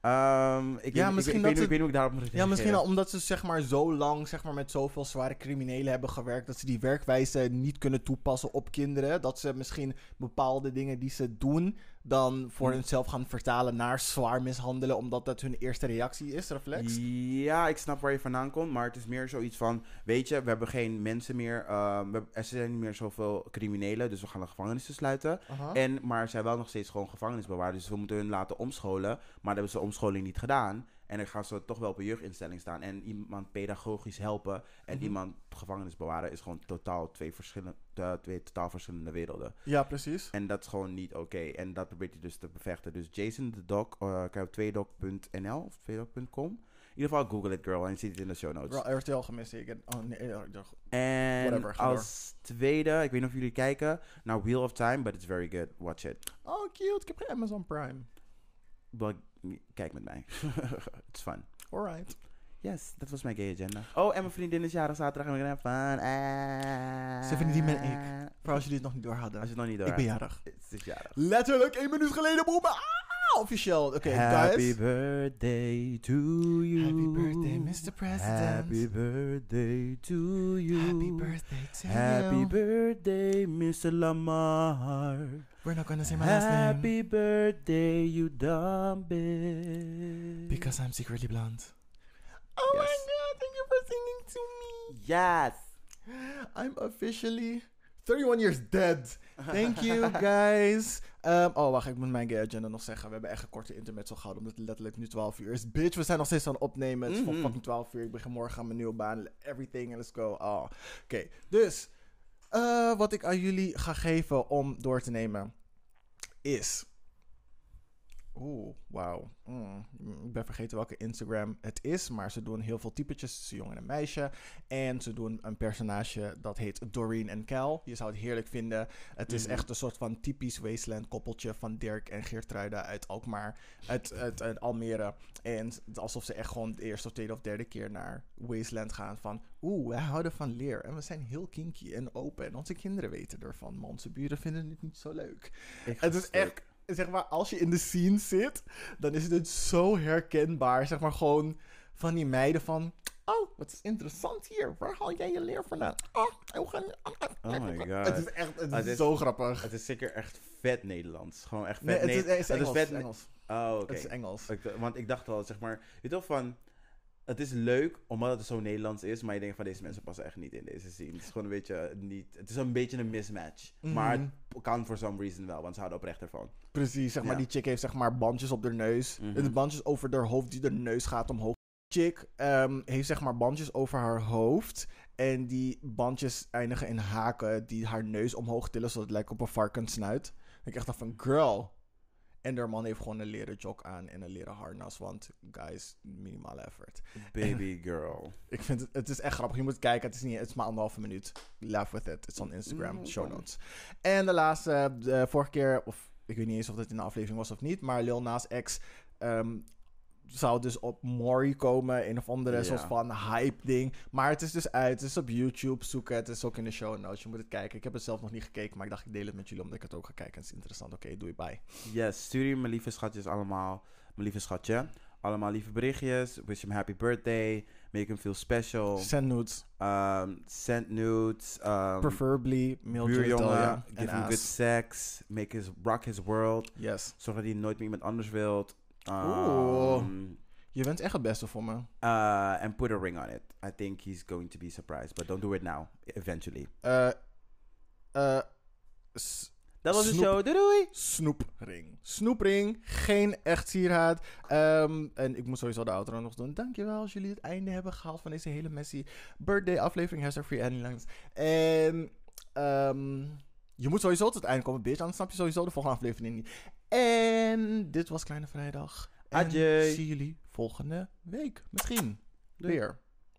Ehm, ik, Ja, weet, misschien misschien ik, weet, dat niet- het- ik weet niet hoe ik daarop moet Ja, reageren. misschien al omdat ze zeg maar zo lang zeg maar, met zoveel zware criminelen hebben gewerkt... dat ze die werkwijze niet kunnen toepassen op kinderen. Dat ze misschien bepaalde dingen die ze doen... dan voor Hm. hunzelf gaan vertalen naar zwaar mishandelen... omdat dat hun eerste reactie is, reflex. Ja, ik snap waar je vandaan komt, maar het is meer zoiets van... Weet je, we hebben geen mensen meer... ehm, we hebben- er zijn niet meer zoveel criminelen, dus we gaan de gevangenissen sluiten. Aha. En, maar er zijn wel nog steeds gewoon gevangenisbewaarders, dus we moeten hun laten omscholen. Maar dat hebben ze de omscholing niet gedaan. En dan gaan ze toch wel op een jeugdinstelling staan. En iemand pedagogisch helpen en Mhm. iemand gevangenis bewaren... is gewoon totaal twee, verschillende, twee totaal verschillende werelden. Ja, precies. En dat is gewoon niet oké. En dat probeert hij dus te bevechten. Dus Jason de Doc, eh, kan je op 2doc.nl of 2doc.com. In ieder geval Google it girl en je ziet het in de show notes. Wel, RTL gemist. Ik heb- oh nee, eh, eh, En Whatever, ga als tweede, ik weet niet of jullie kijken naar Wheel of Time, but it's very good. Watch it. oh, cute. Ik heb geen Amazon Prime. Wel, kijk met mij. it's fun. Alright. Yes, dat was mijn gay agenda. Oh, en mijn vriendin is jarig zaterdag en we gaan fun. Ah. Stephanie, die ben ik. Voor als jullie het nog niet door hadden. Als je het nog niet door ik ben hebt. jarig. Het is jarig. Letterlijk één minuut geleden, boem. ah, officieel. Oké, Happy guys. birthday to you. Happy birthday, Mr. President. Happy birthday to you. Happy birthday to Happy you. birthday, Mr. Lamar. We're not gonna say my last name Happy birthday, you dumb bitch. because I'm secretly blonde. Oh my Yes. god, thank you for singing to me. yes. I'm officially 31 years dead. Thank you guys. Ehm, oh, wacht, ik moet mijn gay agenda nog zeggen. We hebben echt een korte intermezzo gehouden, omdat het letterlijk nu 12 uur is. Bitch, we zijn nog steeds aan het opnemen. Het is Mhm. van fucking 12 uur. Ik begin morgen aan mijn nieuwe baan. Everything, let's go. Oh. Oké, dus eh, wat ik aan jullie ga geven om door te nemen is... Oeh, wauw. Mm, ik ben vergeten welke Instagram het is, maar ze doen heel veel typetjes tussen jongen en meisje. En ze doen een personage dat heet Doreen en Cal. Je zou het heerlijk vinden. Het is Mhm. echt een soort van typisch wasteland koppeltje van Dirk en Geertruida uit Alkmaar, uit, uit, uit Almere. En alsof ze echt gewoon de eerste of tweede of derde keer naar wasteland gaan van... Oeh, wij houden van leer en we zijn heel kinky en open en onze kinderen weten ervan. Maar onze buren vinden het niet zo leuk. Ik ga Het is stuk. echt, zeg maar, als je in de scene zit, dan is het zo herkenbaar. Zeg maar gewoon van die meiden van. Oh, wat is interessant hier. Waar haal jij je leer vandaan? Oh, we gaan- Oh my god. Het is echt het is Het is- zo grappig. Het is zeker echt vet Nederlands. Gewoon echt vet Nee, het is, Ne- het is het Engels. vet het is Ne- Engels. Oh, oké. Het is Engels. Ik d- Want ik dacht al, zeg maar, weet je toch van, het is leuk omdat het zo Nederlands is, maar je denkt van deze mensen passen echt niet in deze scene. Het is gewoon een beetje eh, niet, het is een beetje een mismatch. Mhm. Maar het p- kan for some reason wel, want ze houden oprecht ervan. Precies, zeg maar, Ja. die chick heeft zeg maar bandjes op haar neus. Mhm. De bandjes over haar hoofd die de neus gaat omhoog. Chick ehm, heeft zeg maar bandjes over haar hoofd. En die bandjes eindigen in haken die haar neus omhoog tillen, zodat het lijkt op een varkensnuit. Ik echt dacht van, girl. En haar man heeft gewoon een leren jog aan en een leren harnas, want guys, minimale effort. Baby girl. Ik vind het, het is echt grappig. Je moet kijken, het is, niet, het is maar anderhalve minuut. Laugh with it. It's on Instagram, Mm, show oké. notes. En de laatste, de eh, vorige keer, of ik weet niet eens of dat in de aflevering was of niet, maar Lil Nas X ehm, zou dus op Mori komen, een of andere Ja. soort van hype ding. Maar het is dus uit, het is op YouTube, zoek het, het is ook in de show notes. Je moet het kijken. Ik heb het zelf nog niet gekeken, maar ik dacht ik deel het met jullie omdat ik het ook ga kijken. Het is interessant. Oké, doei, bye. Yes, stuur je mijn lieve schatjes allemaal, mijn lieve schatje, allemaal lieve berichtjes. Wish him happy birthday, make him feel special. Send nudes, Um, send nudes. Um, preferably mail buurjongen, Julia en give him good ass. sex, make his, rock his world. Yes. Zorg dat hij nooit meer iemand anders wilt. Oeh. Ehm, Je bent echt het beste voor me. Uh, and put a ring on it. I think he's going to be surprised, but don't do it now. Eventually. eh eh, s- Dat was de Snoep. show. Doei doei. snoepring. Snoepring, geen echt sieraad. Ehm, en ik moet sowieso de outro nog doen. Dankjewel als jullie het einde hebben gehaald van deze hele messy birthday aflevering. Hashtag free Annie Langs. En ehm, je moet sowieso tot het einde komen, bitch. Anders snap je sowieso de volgende aflevering niet. En dit was Kleine Vrijdag. En Adieu. zie jullie volgende week. Misschien Doei. weer.